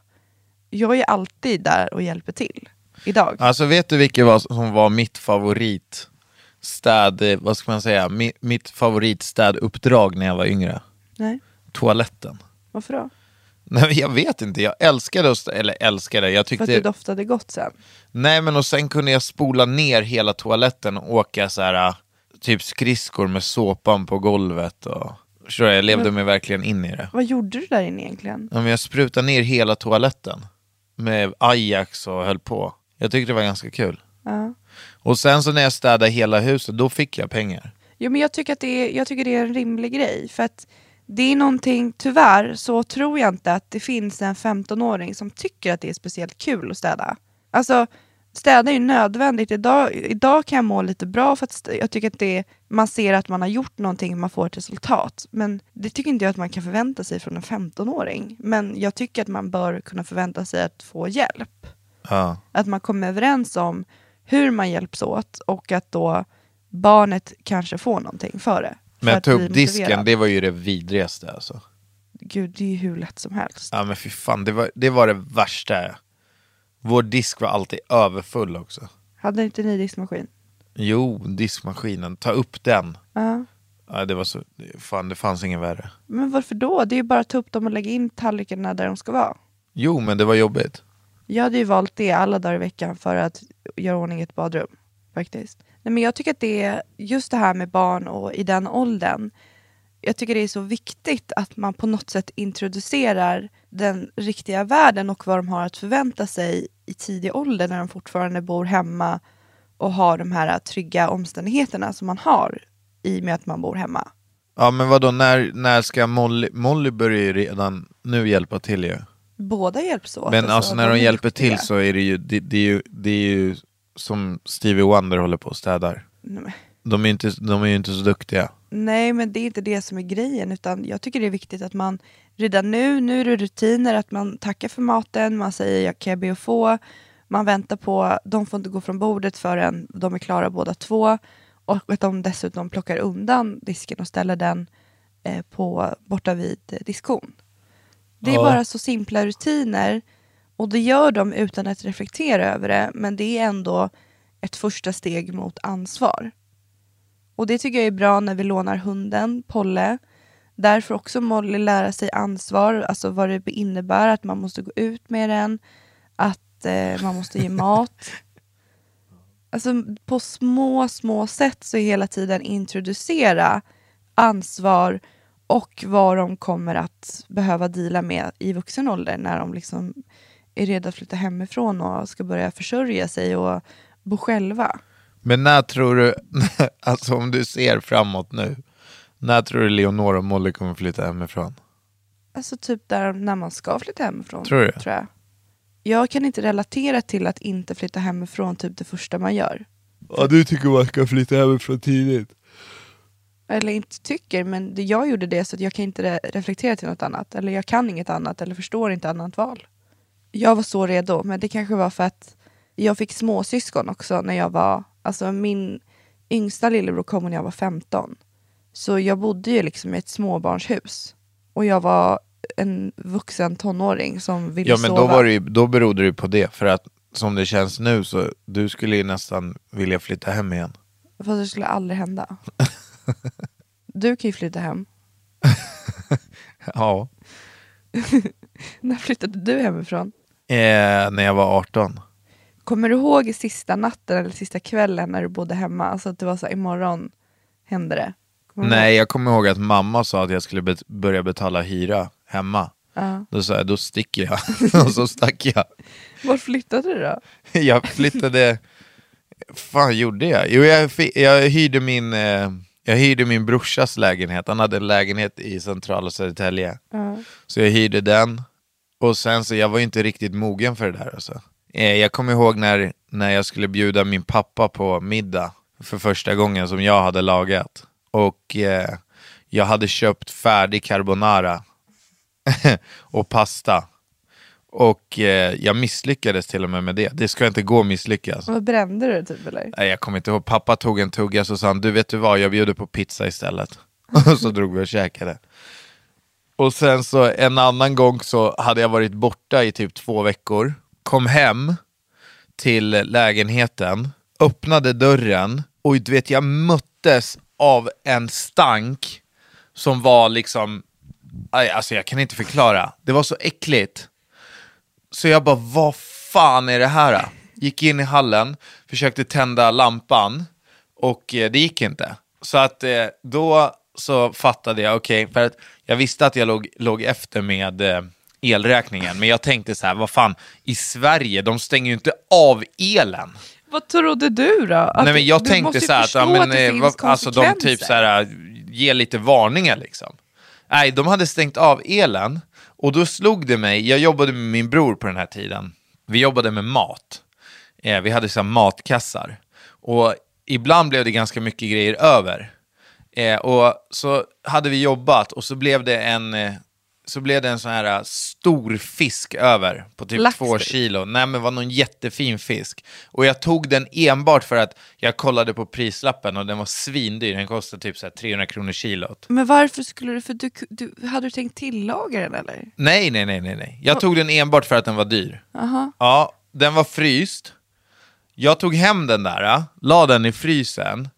Speaker 4: Jag är alltid där och hjälper till. Idag.
Speaker 3: Alltså vet du vilket var, som var mitt favorit städ, eh, vad ska man säga, mi, mitt favoritstäduppdrag när jag var yngre?
Speaker 4: Nej,
Speaker 3: Toaletten.
Speaker 4: varför då?
Speaker 3: Nej, men jag vet inte, jag älskade att stä- eller älskade, jag
Speaker 4: För
Speaker 3: tyckte...
Speaker 4: att du doftade gott sen.
Speaker 3: Nej men och sen kunde jag spola ner hela toaletten och åka så här äh, typ skridskor med såpan på golvet och... Förstår du, jag levde mig verkligen in i det.
Speaker 4: Vad gjorde du där inne egentligen?
Speaker 3: Ja, men jag sprutade ner hela toaletten med Ajax och höll på. Jag tyckte det var ganska kul.
Speaker 4: Ja.
Speaker 3: Och sen så när jag städade hela huset, då fick jag pengar.
Speaker 4: Jo, men jag, tycker att det är, jag tycker det är en rimlig grej. För att det är någonting, tyvärr så tror jag inte att det finns en 15-åring som tycker att det är speciellt kul att städa. Alltså, städa är ju nödvändigt. Idag, idag kan jag må lite bra för att st- jag tycker att det är, man ser att man har gjort någonting och man får ett resultat. Men det tycker inte jag att man kan förvänta sig från en 15-åring. Men jag tycker att man bör kunna förvänta sig att få hjälp.
Speaker 3: Ja.
Speaker 4: Att man kommer överens om hur man hjälps åt och att då barnet kanske får någonting för det.
Speaker 3: Men
Speaker 4: för
Speaker 3: att ta
Speaker 4: bli
Speaker 3: upp disken,
Speaker 4: motiverad.
Speaker 3: det var ju det vidrigaste alltså.
Speaker 4: Gud, det är ju hur lätt som helst.
Speaker 3: Ja men fy fan, det var det, var det värsta. Vår disk var alltid överfull också.
Speaker 4: Hade inte ni diskmaskin?
Speaker 3: Jo, diskmaskinen, ta upp den.
Speaker 4: Ja.
Speaker 3: Ja, det var så, fan det fanns ingen värre.
Speaker 4: Men varför då? Det är ju bara att ta upp dem och lägga in tallrikarna där de ska vara.
Speaker 3: Jo, men det var jobbigt.
Speaker 4: Jag hade ju valt det alla dagar i veckan för att göra ordning i ett badrum. Faktiskt. Nej, men jag tycker att det är just det här med barn och i den åldern. Jag tycker det är så viktigt att man på något sätt introducerar den riktiga världen och vad de har att förvänta sig i tidig ålder när de fortfarande bor hemma och har de här trygga omständigheterna som man har i och med att man bor hemma.
Speaker 3: Ja men vadå, när, när ska Molly, Molly börjar ju redan nu hjälpa till ju.
Speaker 4: Båda hjälps åt.
Speaker 3: Men alltså när de
Speaker 4: är
Speaker 3: hjälper till
Speaker 4: viktiga.
Speaker 3: så är det ju, det, det är ju, det är ju som Stevie Wonder håller på och städar.
Speaker 4: Nej, men-
Speaker 3: De är ju inte, de är ju inte så duktiga.
Speaker 4: Nej, men det är inte det som är grejen. Utan jag tycker det är viktigt att man redan nu, nu är det rutiner, att man tackar för maten, man säger jag kan jag be att få. Man väntar på, de får inte gå från bordet förrän de är klara båda två. Och att de dessutom plockar undan disken och ställer den eh, på, borta vid eh, diskon. Det är
Speaker 3: Ja.
Speaker 4: bara så simpla rutiner och det gör de utan att reflektera över det. Men det är ändå ett första steg mot ansvar. Och det tycker jag är bra när vi lånar hunden, Polle. Där får också Molly lära sig ansvar, alltså vad det innebär att man måste gå ut med den, att eh, man måste ge mat. Alltså på små, små sätt så hela tiden introducera ansvar och vad de kommer att behöva deala med i vuxen ålder när de liksom är redo att flytta hemifrån och ska börja försörja sig och bo själva.
Speaker 3: Men när tror du, alltså om du ser framåt nu, när tror du Leonor och Molly kommer flytta hemifrån?
Speaker 4: Alltså typ där när man ska flytta hemifrån.
Speaker 3: Tror du?
Speaker 4: jag. jag kan inte relatera till att inte flytta hemifrån typ det första man gör.
Speaker 3: Ja du tycker man ska flytta hemifrån tidigt?
Speaker 4: Eller inte tycker, men det, jag gjorde det så att jag kan inte re- reflektera till något annat. Eller jag kan inget annat eller förstår inte annat val. Jag var så redo, men det kanske var för att jag fick småsyskon också när jag var... Alltså min yngsta lillebror kom när jag var 15. Så jag bodde ju liksom i ett småbarnshus. Och jag var en vuxen tonåring som ville
Speaker 3: Ja men
Speaker 4: sova.
Speaker 3: då, var det ju, då berodde det ju på det, för att som det känns nu så du skulle ju nästan vilja flytta hem igen.
Speaker 4: Fast det skulle aldrig hända. Du kan ju flytta hem.
Speaker 3: Ja.
Speaker 4: När flyttade du hemifrån?
Speaker 3: Eh, när jag var 18.
Speaker 4: Kommer du ihåg sista natten eller sista kvällen när du bodde hemma? Alltså att det var så här, imorgon händer det. Kommer du
Speaker 3: Nej,
Speaker 4: ihåg?
Speaker 3: jag kommer ihåg att mamma sa att jag skulle bet- börja betala hyra hemma.
Speaker 4: Ja.
Speaker 3: Då sa jag, då sticker jag. och så stack jag.
Speaker 4: Var flyttade du då?
Speaker 3: Jag flyttade... fan gjorde jag? Jo, jag, fi- jag hyrde min eh, Jag hyrde min brorsas lägenhet. Han hade en lägenhet i centrala Södertälje. Så jag hyrde den. Och sen så, jag var ju inte riktigt mogen för det där alltså. Eh, Jag kommer ihåg när, när jag skulle bjuda min pappa på middag för första gången som jag hade lagat. Och eh, jag hade köpt färdig carbonara och pasta. Och eh, jag misslyckades till och med med det. Det ska inte gå att misslyckas.
Speaker 4: Vad brände du det typ eller?
Speaker 3: Nej, jag kommer inte ihåg. Pappa tog en tugga så sa han, du vet du vad, jag bjuder på pizza istället. Och så drog vi och käkade. Och sen så en annan gång så hade jag varit borta i typ två veckor. Kom hem till lägenheten, öppnade dörren och du vet jag möttes av en stank som var liksom, aj, alltså jag kan inte förklara. Det var så äckligt. Så jag bara, vad fan är det här? då?" Gick in i hallen, försökte tända lampan och eh, det gick inte. Så att eh, då så fattade jag, okej, för att jag visste att jag låg, låg efter med eh, elräkningen, men jag tänkte så här, vad fan, i Sverige, de stänger ju inte av elen.
Speaker 4: Vad trodde du då? Att
Speaker 3: Nej, men jag
Speaker 4: du måste
Speaker 3: tänkte
Speaker 4: ju
Speaker 3: så här, att,
Speaker 4: förstå
Speaker 3: ja, men,
Speaker 4: det
Speaker 3: eh,
Speaker 4: finns
Speaker 3: vad- alltså de typ
Speaker 4: konsekvenser.
Speaker 3: så här, eh, ger lite varningar liksom. Nej, de hade stängt av elen och då slog det mig, jag jobbade med min bror på den här tiden. Vi jobbade med mat. Eh, vi hade så här matkassar. Och ibland blev det ganska mycket grejer över. Eh, och så hade vi jobbat och så blev det en, eh, så blev det en sån här eh, stor fisk över på typ
Speaker 4: Lax,
Speaker 3: två
Speaker 4: typ.
Speaker 3: kilo. Nej men var någon jättefin fisk. Och jag tog den enbart för att jag kollade på prislappen och den var svindyr. Den kostade typ så här 300 kronor kilot.
Speaker 4: Men varför skulle du, för du, du, hade du tänkt tillaga den eller?
Speaker 3: Nej, nej, nej, nej, nej. Jag tog den enbart för att den var dyr. Ja, den var fryst. Jag tog hem den där, äh, la den i frysen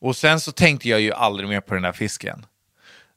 Speaker 3: och sen så tänkte jag ju aldrig mer på den där fisken.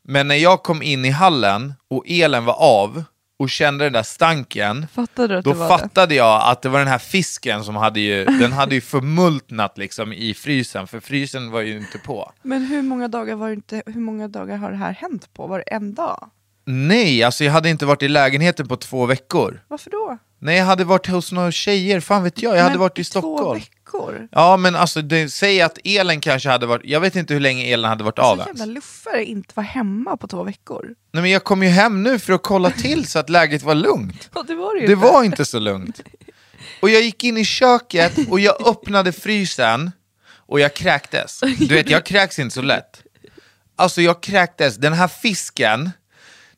Speaker 3: Men när jag kom in i hallen och elen var av och kände den där stanken,
Speaker 4: Fattade du att
Speaker 3: då
Speaker 4: det var
Speaker 3: fattade jag att det var den här fisken som hade ju, den hade ju förmultnat liksom i frysen, för frysen var ju inte på.
Speaker 4: det? Men hur många, dagar var det inte, hur många dagar har det här hänt på? Var det en dag?
Speaker 3: Nej, alltså jag hade inte varit i lägenheten på två veckor.
Speaker 4: Varför då?
Speaker 3: Nej, jag hade varit hos några tjejer, fan vet jag. Jag hade
Speaker 4: Men
Speaker 3: varit i
Speaker 4: Två
Speaker 3: Stockholm.
Speaker 4: veckor?
Speaker 3: Ja, men alltså, det, säg att elen kanske hade varit... Jag vet inte hur länge elen hade varit av
Speaker 4: Så jävla
Speaker 3: ens.
Speaker 4: luffare inte var hemma på två veckor.
Speaker 3: Nej, men jag kom ju hem nu för att kolla till så att läget var lugnt.
Speaker 4: Ja, det var det ju
Speaker 3: Det
Speaker 4: inte.
Speaker 3: var inte så lugnt. Och jag gick in i köket och jag öppnade frysen och jag kräktes. Du vet, jag kräks inte så lätt. Alltså, jag kräktes. Den här fisken,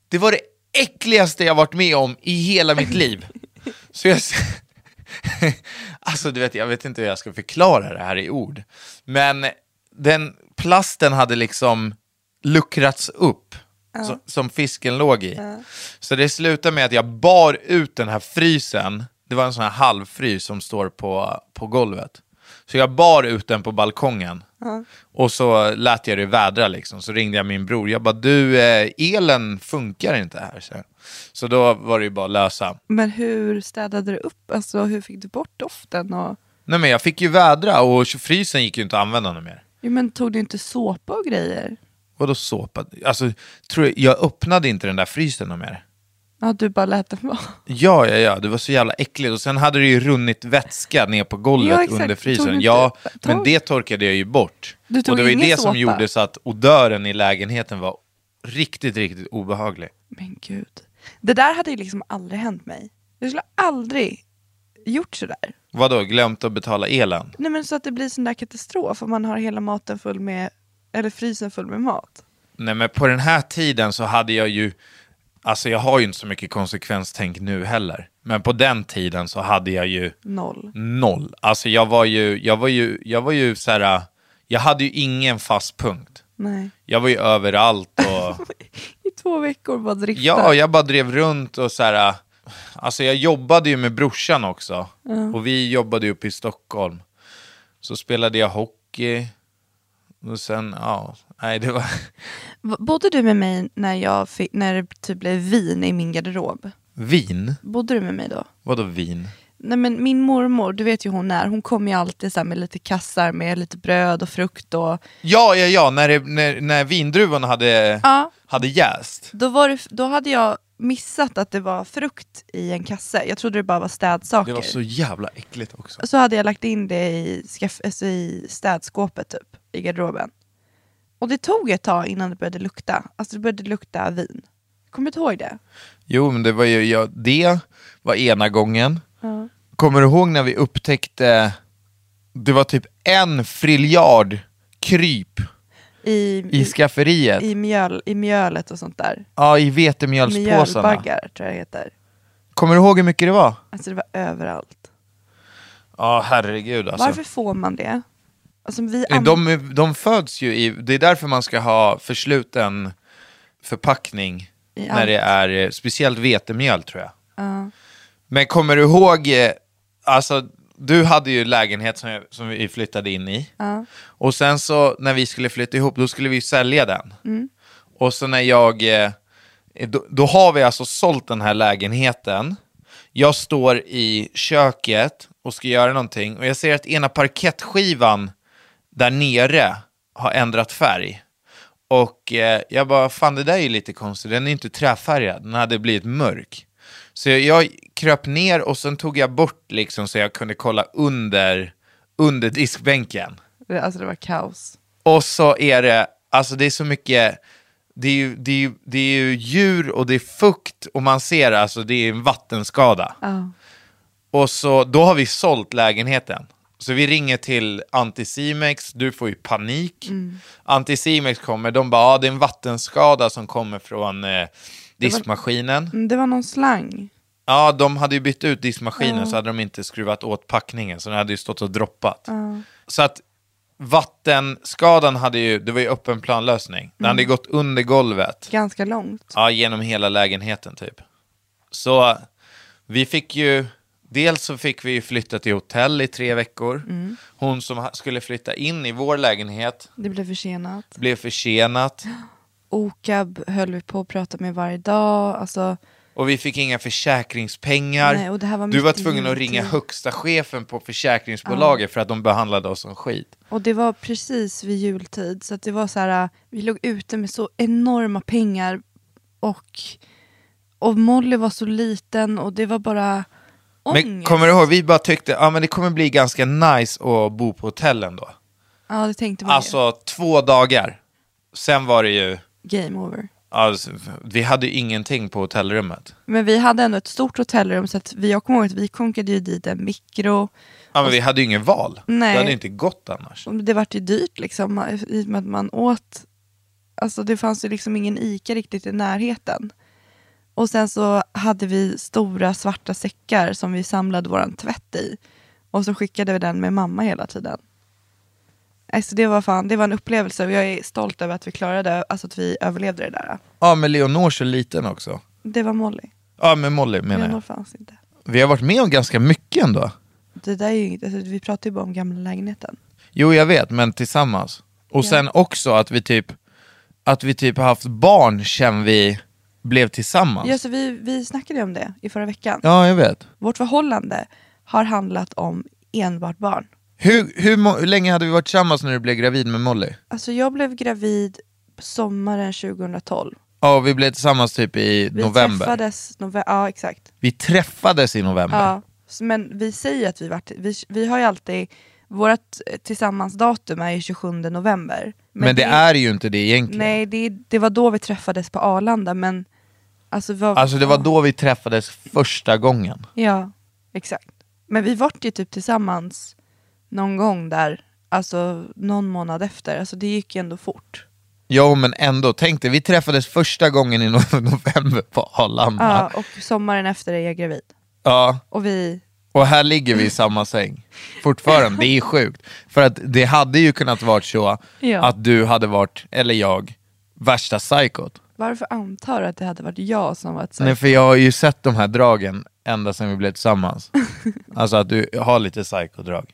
Speaker 3: det var det äckligaste jag varit med om i hela mitt liv. Så jag... Alltså, du vet, jag vet inte hur jag ska förklara det här i ord. Men den plasten hade liksom luckrats upp, som, som fisken låg i. Så det slutade med att jag bar ut den här frysen. Det var en sån här halvfrys som står på, på golvet. Så jag bar ut den på balkongen. Och så lät jag det vädra liksom. Så ringde jag min bror. Jag bara, du, eh, elen funkar inte här. Så, så då var det ju bara att lösa.
Speaker 4: Men hur städade du upp? Alltså, hur fick du bort doften? Och...
Speaker 3: Nej men jag fick ju vädra och frysen gick ju inte att använda någon mer.
Speaker 4: Jo, men tog du inte såpa och grejer?
Speaker 3: Vadå såpa? Alltså, tror jag, jag öppnade inte den där frysen någon mer.
Speaker 4: Ja, du bara lät den vara.
Speaker 3: Ja, ja, ja, det var så jävla äckligt. Och sen hade det ju runnit vätska ner på
Speaker 4: Ja,
Speaker 3: golvet
Speaker 4: exakt.
Speaker 3: under
Speaker 4: Tog du
Speaker 3: frysen.
Speaker 4: inte-
Speaker 3: Ja,
Speaker 4: tog-
Speaker 3: men det torkade jag ju bort.
Speaker 4: Du tog
Speaker 3: och det var ju
Speaker 4: ingen
Speaker 3: det som
Speaker 4: såpa?
Speaker 3: gjorde så att odören i lägenheten var riktigt, riktigt obehaglig.
Speaker 4: Men gud. Det där hade ju liksom aldrig hänt mig. Jag skulle aldrig gjort sådär.
Speaker 3: Vadå, glömt att betala elen?
Speaker 4: Nej, men så att det blir sån där katastrof om man har hela maten full med, eller frysen full med mat.
Speaker 3: Nej, men på den här tiden så hade jag ju... Alltså jag har ju inte så mycket konsekvenstänk nu heller. Men på den tiden så hade jag ju...
Speaker 4: Noll.
Speaker 3: Noll. Alltså jag var ju, jag var ju, jag var ju så här, jag hade ju ingen fast punkt.
Speaker 4: Nej.
Speaker 3: Jag var ju överallt och,
Speaker 4: I två veckor bara drifta.
Speaker 3: ja, jag bara drev runt och så här, alltså jag jobbade ju med brorsan också. Och vi jobbade ju uppe i Stockholm. Så spelade jag hockey. Och sen, ja, nej det var,
Speaker 4: V- Bodde du med mig när, jag fick, när det typ blev vin i min garderob?
Speaker 3: vin?
Speaker 4: Bodde du med mig då?
Speaker 3: Vadå vin?
Speaker 4: Nej men min mormor, du vet ju hon är, hon kommer ju alltid så här med lite kassar med lite bröd och frukt och
Speaker 3: Ja, ja, ja, när, det, när, när vindruvan hade,
Speaker 4: Ja.
Speaker 3: hade jäst.
Speaker 4: då, var det, då hade jag missat att det var frukt i en kasse. Jag trodde det bara var städsaker.
Speaker 3: Det var så jävla äckligt också.
Speaker 4: Så hade jag lagt in det i, skaff, alltså i städskåpet typ, i garderoben. Och det tog ett tag innan det började lukta. Alltså det började lukta vin. Kommer du ihåg det?
Speaker 3: Jo, men det var ju, ja, det var ena gången. Kommer du ihåg när vi upptäckte, det var typ en friljard kryp
Speaker 4: I,
Speaker 3: i skafferiet?
Speaker 4: i, mjöl, I mjölet och sånt där.
Speaker 3: ja, i vetemjölspåsarna.
Speaker 4: Mjölbaggar tror jag det heter.
Speaker 3: Kommer du ihåg hur mycket det var?
Speaker 4: Alltså det var överallt.
Speaker 3: Ja, herregud alltså.
Speaker 4: Varför får man det? Alltså, vi
Speaker 3: Nej,
Speaker 4: an-
Speaker 3: Eh, De, de föds ju i, det är därför man ska ha försluten förpackning
Speaker 4: I
Speaker 3: när
Speaker 4: allt.
Speaker 3: det är eh, speciellt vetemjöl tror jag. Men kommer du ihåg, eh, alltså du hade ju lägenhet som, jag, som vi flyttade in i. Och sen så när vi skulle flytta ihop, då skulle vi ju sälja den.
Speaker 4: Mm.
Speaker 3: Och så när jag, eh, då, då har vi alltså sålt den här lägenheten. Jag står i köket och ska göra någonting och jag ser att ena parkettskivan där nere har ändrat färg. Och eh, jag bara, fan det där är ju lite konstigt, den är inte träfärgad, den hade blivit mörk. Så jag, jag kröp ner och sen tog jag bort liksom så jag kunde kolla under, under diskbänken.
Speaker 4: Det- Alltså det var kaos.
Speaker 3: Och så är det, alltså det är så mycket, det är ju, det är ju, det är ju djur och det är fukt och man ser alltså det är en vattenskada. Och så, då har vi sålt lägenheten. Så vi ringer till Anticimex, du får ju panik. Anticimex kommer, de bara, ah, det är en vattenskada som kommer från eh, diskmaskinen.
Speaker 4: Mm, Det var någon slang.
Speaker 3: Ja, de hade ju bytt ut diskmaskinen så hade de inte skruvat åt packningen så den hade ju stått och droppat. Så att vattenskadan hade ju, det var ju öppen planlösning. Den hade ju gått under golvet,
Speaker 4: Ganska långt.
Speaker 3: ja, genom hela lägenheten typ. Så vi fick ju, dels så fick vi ju flytta till hotell i tre veckor. Hon som ha- skulle flytta in i vår lägenhet
Speaker 4: Det blev försenat.
Speaker 3: blev försenat
Speaker 4: OKAB höll vi på att prata med varje dag. Alltså,
Speaker 3: och vi fick inga försäkringspengar.
Speaker 4: Nej, och det här var
Speaker 3: du var
Speaker 4: mitt i
Speaker 3: tvungen att
Speaker 4: juletid.
Speaker 3: ringa högsta chefen på försäkringsbolaget för att de behandlade oss som skit.
Speaker 4: och det var precis vid jultid. Så att det var så här, äh, vi låg ute med så enorma pengar. Och, och Molly var så liten och det var bara ångest.
Speaker 3: Men kommer du ihåg, vi bara tyckte att ah, men det kommer bli ganska nice att bo på hotellen då.
Speaker 4: Ja, det tänkte man ju.
Speaker 3: Alltså två dagar. Sen var det ju,
Speaker 4: Game over.
Speaker 3: alltså, vi hade ju ingenting på hotellrummet.
Speaker 4: Men vi hade ändå ett stort hotellrum så att vi, jag kommer ihåg att vi konkade ju dit en mikro.
Speaker 3: Ja, men vi hade ju ingen val.
Speaker 4: Nej.
Speaker 3: Det hade ju inte gått annars.
Speaker 4: Och Det vart ju dyrt liksom i och med att man åt. Alltså det fanns ju liksom ingen ICA riktigt i närheten. Och sen så hade vi stora svarta säckar som vi samlade våran tvätt i. Och så skickade vi den med mamma hela tiden. Alltså det var fan, det var en upplevelse och jag är stolt över att vi klarade, alltså att vi överlevde det där.
Speaker 3: Ja, men Leonor så liten också.
Speaker 4: Det var Molly.
Speaker 3: Ja, men Molly menar
Speaker 4: Leonor
Speaker 3: jag.
Speaker 4: fanns inte.
Speaker 3: Vi har varit med om ganska mycket ändå.
Speaker 4: Det där är ju inget, alltså vi pratar ju bara om gamla lägenheten.
Speaker 3: Jo, jag vet, men tillsammans. Och sen också att vi typ att vi typ har haft barn sen vi blev tillsammans.
Speaker 4: Ja, så vi, vi snackade ju om det i förra veckan.
Speaker 3: Ja, jag vet.
Speaker 4: Vårt förhållande har handlat om enbart barn.
Speaker 3: Hur, hur, må- hur länge hade vi varit tillsammans när du blev gravid med Molly?
Speaker 4: Alltså jag blev gravid på sommaren 2012.
Speaker 3: Ja, vi blev tillsammans typ i
Speaker 4: Vi
Speaker 3: november.
Speaker 4: träffades november. Ja, exakt.
Speaker 3: Vi träffades i november.
Speaker 4: Ja. S- Men vi säger att vi vart, vi, vi har ju alltid, vårt tillsammansdatum är ju 27 november.
Speaker 3: men, det, är ju inte det egentligen.
Speaker 4: Nej, det, det var då vi träffades på Arlanda men... Alltså, vad-
Speaker 3: Alltså det var då vi träffades första gången.
Speaker 4: Ja, exakt. Men vi vart ju typ tillsammans någon gång där, alltså någon månad efter. Alltså det gick ju ändå fort.
Speaker 3: Jo men ändå, tänk dig, vi träffades första gången i no- november på Arlanda.
Speaker 4: Ja,
Speaker 3: Ja.
Speaker 4: och sommaren efter är jag gravid. Och vi,
Speaker 3: Och här ligger vi i samma säng. Fortfarande, det är sjukt. För att det hade ju kunnat varit så
Speaker 4: Ja.
Speaker 3: att du hade varit, eller jag, värsta psykot.
Speaker 4: varför antar du att det hade varit jag som var ett
Speaker 3: Nej, för jag har ju sett de här dragen ända sedan vi blev tillsammans. alltså att du har lite psykodrag.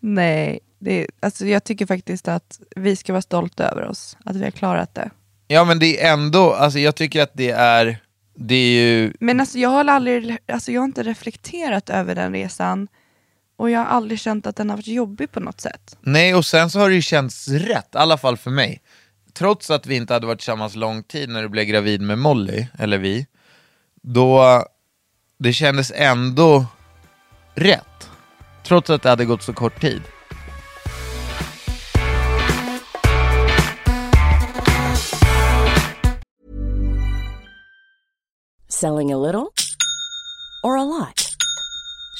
Speaker 4: Nej, det, alltså jag tycker faktiskt att vi ska vara stolta över oss, att vi har klarat det.
Speaker 3: Ja men det är ändå, alltså jag tycker att det är, det är ju,
Speaker 4: Men alltså jag har aldrig, alltså jag har inte reflekterat över den resan och jag har aldrig känt att den har varit jobbig på något sätt.
Speaker 3: nej och sen så har det ju känts rätt, i alla fall för mig. Trots att vi inte hade varit tillsammans lång tid när du blev gravid med Molly, eller vi, då, det kändes ändå rätt. Trots att det hade gått så kort tid.
Speaker 5: Selling a little or a lot?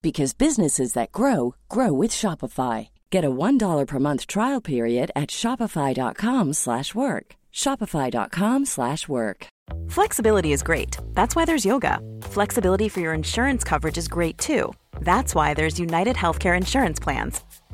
Speaker 5: because businesses that grow grow with Shopify. Get a $1 per month trial period at shopify.com/work. shopify.com/work.
Speaker 6: Flexibility is great. That's why there's yoga. Flexibility for your insurance coverage is great too. That's why there's United Healthcare Insurance Plans.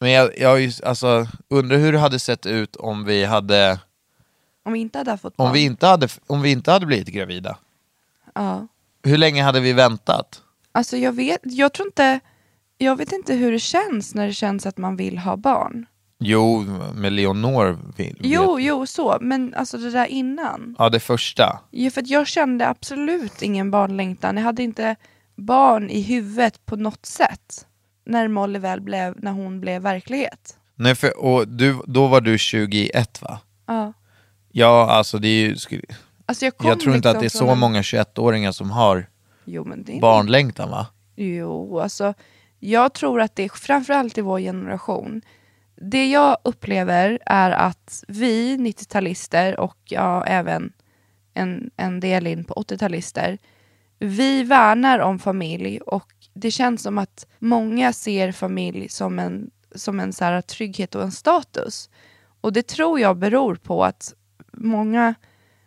Speaker 3: Men jag, jag har ju, alltså, undrar hur det hade sett ut om vi hade,
Speaker 4: Om vi inte hade haft fått
Speaker 3: om
Speaker 4: barn.
Speaker 3: vi inte hade, om vi inte hade blivit gravida.
Speaker 4: Ja.
Speaker 3: Hur länge hade vi väntat?
Speaker 4: Alltså jag vet, jag tror inte, jag vet inte hur det känns när det känns att man vill ha barn.
Speaker 3: Jo, med Leonor vill
Speaker 4: Jo,
Speaker 3: vet-
Speaker 4: jo, så, men alltså det där innan.
Speaker 3: Ja, det första.
Speaker 4: Ja, för att jag kände absolut ingen barnlängtan. Jag hade inte barn i huvudet på något sätt. När Molly väl blev, när hon blev verklighet.
Speaker 3: Nej, för, och du, då var du 21 va?
Speaker 4: Ja.
Speaker 3: Ja, alltså det är ju, skulle-
Speaker 4: Alltså jag, kom
Speaker 3: jag tror inte
Speaker 4: liksom
Speaker 3: att det är
Speaker 4: från
Speaker 3: så
Speaker 4: en-
Speaker 3: många 21-åringar som har
Speaker 4: jo, men det är
Speaker 3: barnlängtan va?
Speaker 4: Jo, alltså jag tror att det är framförallt i vår generation. Det jag upplever är att vi 90-talister och ja, även en, en del in på 80-talister, vi värnar om familj och det känns som att många ser familj som en, som en så här trygghet och en status. Och det tror jag beror på att många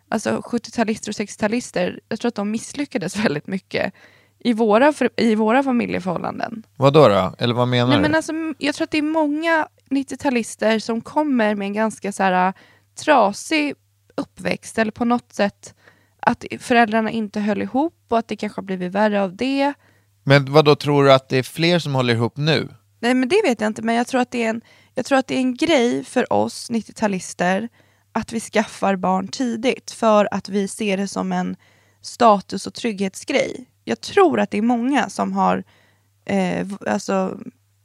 Speaker 4: alltså 70-talister och 60-talister, jag tror att de misslyckades väldigt mycket i våra, för- i våra familjeförhållanden.
Speaker 3: Vad då, då? Eller vad menar
Speaker 4: Nej,
Speaker 3: du?
Speaker 4: men alltså, m- jag tror att det är många 90-talister som kommer med en ganska så här, äh, trasig uppväxt eller på något sätt att föräldrarna inte höll ihop och att det kanske har blivit värre av det.
Speaker 3: men vad då tror du att det är fler som håller ihop nu?
Speaker 4: Nej men det vet jag inte men jag tror att det är en, jag tror att det är en grej för oss 90-talister att vi skaffar barn tidigt för att vi ser det som en status och trygghetsgrej. Jag tror att det är många som har eh, v- alltså,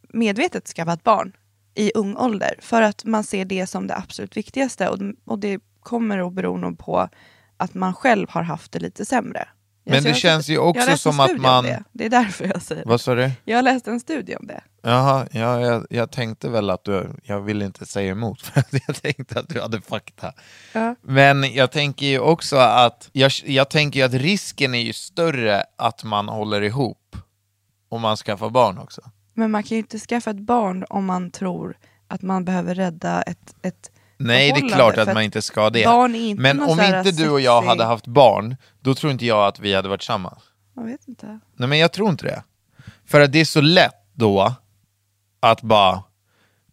Speaker 4: medvetet skaffat barn i ung ålder för att man ser det som det absolut viktigaste och, och det kommer att bero nog på att man själv har haft det lite sämre.
Speaker 3: Men
Speaker 4: Så
Speaker 3: det
Speaker 4: jag-
Speaker 3: känns ju också
Speaker 4: jag läste en
Speaker 3: som att
Speaker 4: studie om
Speaker 3: man-
Speaker 4: Det. det är därför jag säger det.
Speaker 3: Vad sa du?
Speaker 4: Jag läste en studie om det.
Speaker 3: Jaha, ja, jag, jag tänkte väl att du, jag ville inte säga emot för att jag tänkte att du hade fakta.
Speaker 4: Ja.
Speaker 3: Men jag tänker ju också att, jag, jag tänker ju att risken är ju större att man håller ihop om man skaffar barn också.
Speaker 4: Men man kan ju inte skaffa ett barn om man tror att man behöver rädda ett, ett
Speaker 3: Nej, det är
Speaker 4: förhållande,
Speaker 3: klart
Speaker 4: för
Speaker 3: att man inte ska det.
Speaker 4: Barn är inte
Speaker 3: Men
Speaker 4: någon
Speaker 3: om
Speaker 4: så här
Speaker 3: inte du och jag
Speaker 4: sexig-
Speaker 3: hade haft barn, då tror inte jag att vi hade varit tillsammans.
Speaker 4: Jag vet inte.
Speaker 3: Nej men jag tror inte det. För att det är så lätt då att bara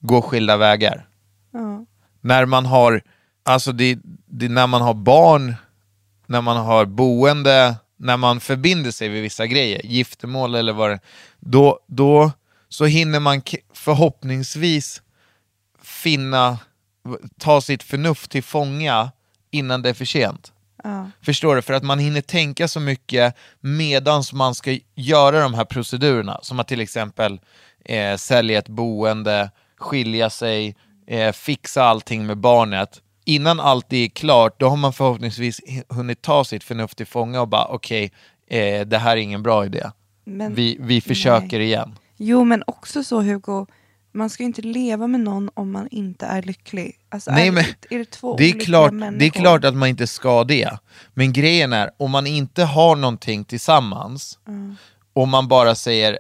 Speaker 3: gå skilda vägar.
Speaker 4: Ja.
Speaker 3: När man har, alltså det, det, när man har barn, när man har boende, när man förbinder sig vid vissa grejer, giftermål eller vad det då, då så hinner man k- förhoppningsvis finna, ta sitt förnuft till fånga innan det är för sent.
Speaker 4: Ja.
Speaker 3: Förstår du? För att man hinner tänka så mycket medan man ska göra de här procedurerna. Som att till exempel eh, sälja ett boende, skilja sig, eh, fixa allting med barnet. Innan allt det är klart, då har man förhoppningsvis hi- hunnit ta sitt förnuft till fånga och bara okej, eh, det här är ingen bra idé.
Speaker 4: Men,
Speaker 3: Vi, vi försöker igen.
Speaker 4: Jo, men också så Hugo, man ska ju inte leva med någon om man inte är lycklig. Alltså,
Speaker 3: Nej,
Speaker 4: är,
Speaker 3: men
Speaker 4: är det två
Speaker 3: Det är,
Speaker 4: olika
Speaker 3: klart,
Speaker 4: människor?
Speaker 3: det är klart att man inte ska det. Men grejen är, om man inte har någonting tillsammans,
Speaker 4: Mm.
Speaker 3: och man bara säger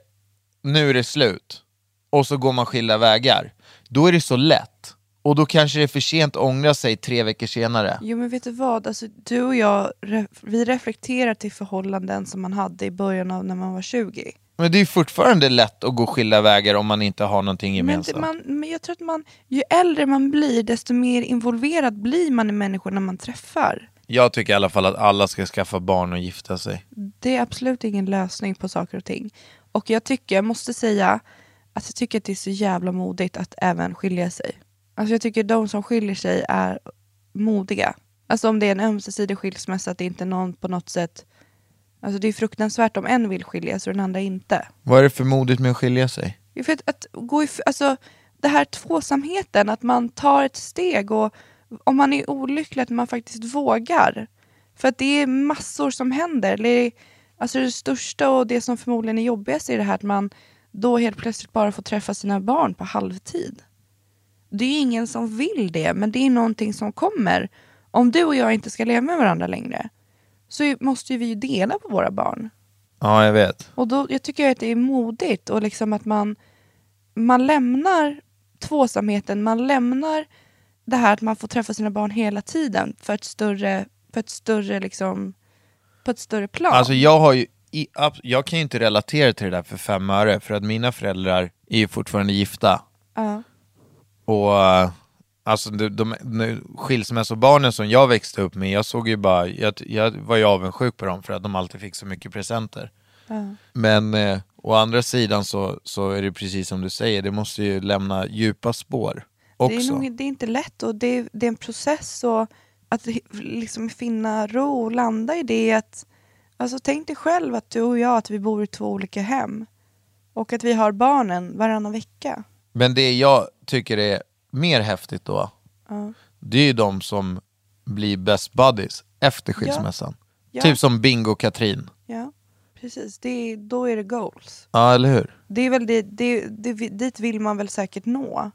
Speaker 3: nu är det slut, och så går man skilda vägar, då är det så lätt. Och då kanske det är för sent att ångra sig tre veckor senare.
Speaker 4: Jo men vet du vad, alltså, du och jag re- vi reflekterar till förhållanden som man hade i början av när man var 20.
Speaker 3: Men det är ju fortfarande lätt att gå skilda vägar om man inte har någonting
Speaker 4: Men,
Speaker 3: gemensamt.
Speaker 4: det, man, men jag tror att man, ju äldre man blir desto mer involverad blir man i människorna man träffar.
Speaker 3: Jag tycker i alla fall att alla ska skaffa barn och gifta sig.
Speaker 4: Det är absolut ingen lösning på saker och ting. Och jag tycker, jag måste säga, att jag tycker att det är så jävla modigt att även skilja sig. Alltså jag tycker de som skiljer sig är modiga. Alltså om det är en ömsesidig skilsmässa, att det inte är någon på något sätt... Alltså det är fruktansvärt om en vill skiljas och den andra inte.
Speaker 3: Vad är det för modigt med att skilja sig?
Speaker 4: Jo, För att, att gå if- alltså, det här tvåsamheten, att man tar ett steg och om man är olycklig att man faktiskt vågar. För att det är massor som händer. Det, är, alltså det största och det som förmodligen är jobbigast är det här att man då helt plötsligt bara får träffa sina barn på halvtid. Det är ingen som vill det, men det är någonting som kommer. Om du och jag inte ska leva med varandra längre så är- måste ju vi ju dela på våra barn.
Speaker 3: Ja, jag vet.
Speaker 4: Och då, jag tycker att det är modigt och liksom att man, man lämnar tvåsamheten, man lämnar det här att man får träffa sina barn hela tiden för ett större, för ett större liksom, på ett större plan.
Speaker 3: Alltså jag har ju, i, ab- jag kan ju inte relatera till det där för fem öre, för att mina föräldrar är ju fortfarande gifta.
Speaker 4: Ja.
Speaker 3: Och eh, alltså de, de, de skilsmässobarnen som jag växte upp med, jag såg ju bara, jag, jag var ju avundsjuk på dem för att de alltid fick så mycket presenter. Men eh, å andra sidan så, så är det precis som du säger, det måste ju lämna djupa spår
Speaker 4: det,
Speaker 3: också.
Speaker 4: är nog, det är inte lätt och det är, det är en process och att hi- liksom finna ro och landa i det. Att, alltså, tänk dig själv att du och jag att vi bor i två olika hem och att vi har barnen varannan vecka.
Speaker 3: Men det jag tycker är mer häftigt då, det är ju de som blir best buddies efter skilsmässan.
Speaker 4: Ja.
Speaker 3: Typ som Bingo och Katrin.
Speaker 4: Ja, precis. Det är, då är det goals.
Speaker 3: Ja, eller hur?
Speaker 4: Det är väl det, det, det, dit vill man väl säkert nå.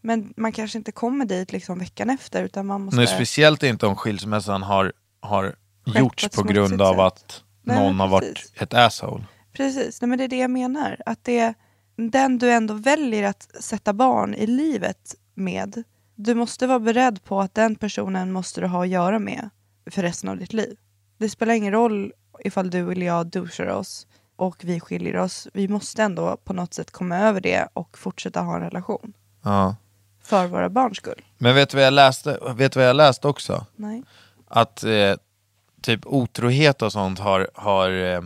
Speaker 4: Men man kanske inte kommer dit liksom veckan efter utan man måste...
Speaker 3: Men speciellt inte om skilsmässan har, har
Speaker 4: Skett på
Speaker 3: gjorts
Speaker 4: ett
Speaker 3: på
Speaker 4: smutsigt
Speaker 3: grund av
Speaker 4: sätt.
Speaker 3: att
Speaker 4: Nej,
Speaker 3: någon
Speaker 4: men
Speaker 3: har varit
Speaker 4: precis.
Speaker 3: ett asshole.
Speaker 4: Precis, Nej, men det är det jag menar. Att det är den du ändå väljer att sätta barn i livet med. Du måste vara beredd på att den personen måste du ha att göra med för resten av ditt liv. Det spelar ingen roll ifall du eller jag duschar oss och vi skiljer oss. Vi måste ändå på något sätt komma över det och fortsätta ha en relation.
Speaker 3: Ja.
Speaker 4: För våra barns skull.
Speaker 3: Men vet du vad jag läste, vet du vad jag läste också?
Speaker 4: Nej.
Speaker 3: att eh, typ otrohet och sånt har, har, eh,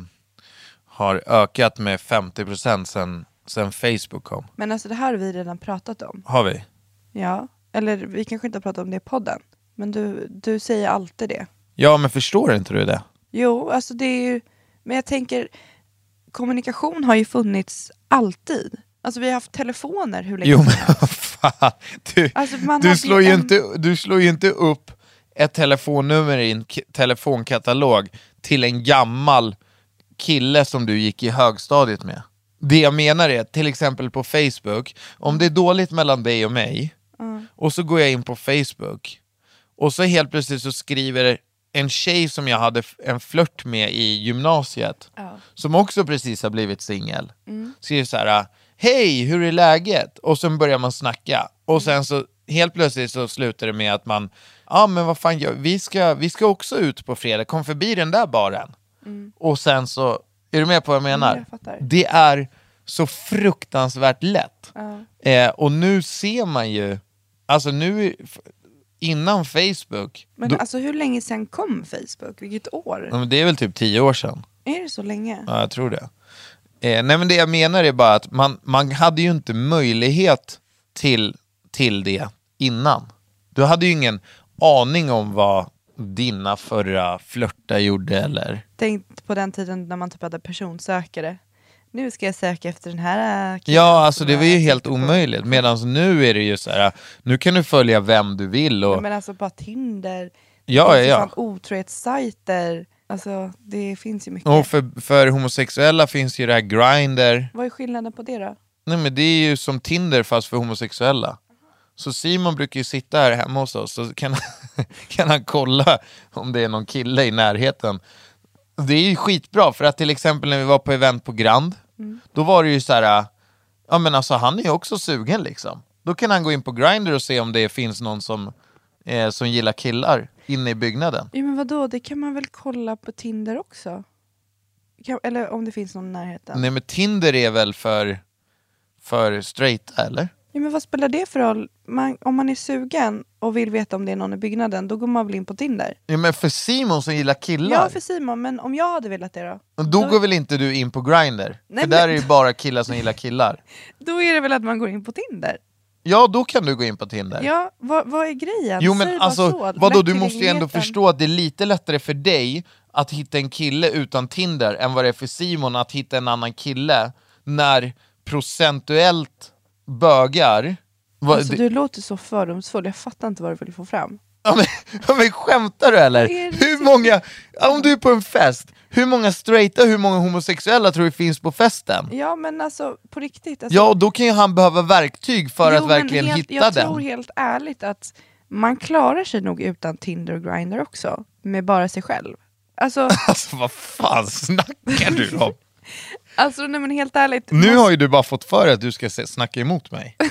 Speaker 3: har ökat med 50% sen, sen Facebook kom.
Speaker 4: Men alltså det här har vi redan pratat om.
Speaker 3: Har vi?
Speaker 4: Ja. Eller vi kanske inte har pratat om det i podden. Men du, du säger alltid det.
Speaker 3: Ja, men förstår inte du det?
Speaker 4: Jo, alltså det är ju... Men jag tänker, kommunikation har ju funnits alltid. Alltså vi har haft telefoner hur länge
Speaker 3: Jo,
Speaker 4: som
Speaker 3: men vad fan. Du,
Speaker 4: Alltså, man
Speaker 3: du,
Speaker 4: hade
Speaker 3: slår
Speaker 4: ju
Speaker 3: ju
Speaker 4: en-
Speaker 3: inte, du slår ju inte upp ett telefonnummer i en k- telefonkatalog till en gammal kille som du gick i högstadiet med. Det jag menar är, till exempel på Facebook, om det är dåligt mellan dig och mig, och så går jag in på Facebook, och så helt plötsligt så skriver en tjej som jag hade f- en flört med i gymnasiet, som också precis har blivit singel,
Speaker 4: Mm.
Speaker 3: skriver så här Hej, hur är läget? Och sen börjar man snacka.
Speaker 4: Mm.
Speaker 3: Och sen så helt plötsligt så slutar det med att man, ja ah, men vad fan, gör- vi ska, vi ska också ut på fredag, kom förbi den där baren. Och sen så, är du med på vad jag menar?
Speaker 4: Mm. jag fattar.
Speaker 3: det är så fruktansvärt lätt. Eh, och nu ser man ju, alltså nu, innan Facebook,
Speaker 4: Men
Speaker 3: då,
Speaker 4: alltså hur länge sedan kom Facebook? Vilket år?
Speaker 3: Ja, men det är väl typ tio år sedan.
Speaker 4: Är det så länge?
Speaker 3: Ja, jag tror det. Eh, nej, men det jag menar är bara att man, man hade ju inte möjlighet till, till det innan. Du hade ju ingen aning om vad dina förra flörtar gjorde eller...
Speaker 4: Tänk på den tiden när man typ hade personsökare. Nu ska jag söka efter den här... äh, killen
Speaker 3: Ja, alltså
Speaker 4: som
Speaker 3: det var
Speaker 4: jag
Speaker 3: ju helt
Speaker 4: tänkte på.
Speaker 3: omöjligt. Medan nu är det ju så här, nu kan du följa vem du vill
Speaker 4: Nej,
Speaker 3: och...
Speaker 4: Men alltså bara Tinder,
Speaker 3: Ja,
Speaker 4: det finns ju
Speaker 3: ja, ja.
Speaker 4: fan otrohetssajter. Alltså det finns ju mycket.
Speaker 3: Och för, för homosexuella finns ju det här Grindr.
Speaker 4: Vad är skillnaden på det då?
Speaker 3: Nej men det är ju som Tinder fast för homosexuella. Så Simon brukar ju sitta här hemma hos oss så kan, kan han kolla om det är någon kille i närheten. Det är ju skitbra för att till exempel när vi var på event på Grand, då var det ju så här, ja men alltså han är ju också sugen liksom. Då kan han gå in på Grindr och se om det finns någon som, eh, som gillar killar inne i byggnaden.
Speaker 4: Ja men vadå, det kan man väl kolla på Tinder också? Kan, eller om det finns någon i närheten.
Speaker 3: Nej men Tinder är väl för, för straight eller?
Speaker 4: Ja, men vad spelar det för roll? Man, om man är sugen och vill veta om det är någon i byggnaden, då går man väl in på Tinder?
Speaker 3: Ja men för Simon som gillar killar.
Speaker 4: Ja för Simon, men om jag hade velat det då?
Speaker 3: Men då går väl inte du in på Grindr?
Speaker 4: Nej,
Speaker 3: För där
Speaker 4: men-
Speaker 3: är ju bara killar som gillar killar.
Speaker 4: Då är det väl att man går in på Tinder?
Speaker 3: Ja, då kan du gå in på Tinder.
Speaker 4: Ja, vad, vad är grejen?
Speaker 3: jo men
Speaker 4: Säg bara
Speaker 3: alltså,
Speaker 4: så.
Speaker 3: vadå,
Speaker 4: Lätt
Speaker 3: du måste ju ändå
Speaker 4: tillgängligheten.
Speaker 3: förstå att det är lite lättare för dig att hitta en kille utan Tinder än vad det är för Simon att hitta en annan kille när procentuellt bögar... vad-
Speaker 4: Alltså,
Speaker 3: det-
Speaker 4: du låter så fördomsfull, jag fattar inte vad du vill få fram.
Speaker 3: Ja, men, ja, men skämtar du eller?
Speaker 4: Vad är det
Speaker 3: Hur många, ja, om du är på en fest, hur många straighta, hur många homosexuella tror du finns på festen?
Speaker 4: Ja men alltså på riktigt. Alltså,
Speaker 3: Ja, och då kan ju han behöva verktyg för
Speaker 4: Jo,
Speaker 3: att
Speaker 4: men
Speaker 3: verkligen
Speaker 4: helt,
Speaker 3: hitta
Speaker 4: jag
Speaker 3: den.
Speaker 4: tror helt ärligt att man klarar sig nog utan Tinder och Grindr också, med bara sig själv. Alltså,
Speaker 3: Alltså vad fan snackar du om?
Speaker 4: alltså nej men helt ärligt.
Speaker 3: Nu
Speaker 4: man-
Speaker 3: har ju du bara fått för dig att du ska se- snacka emot mig.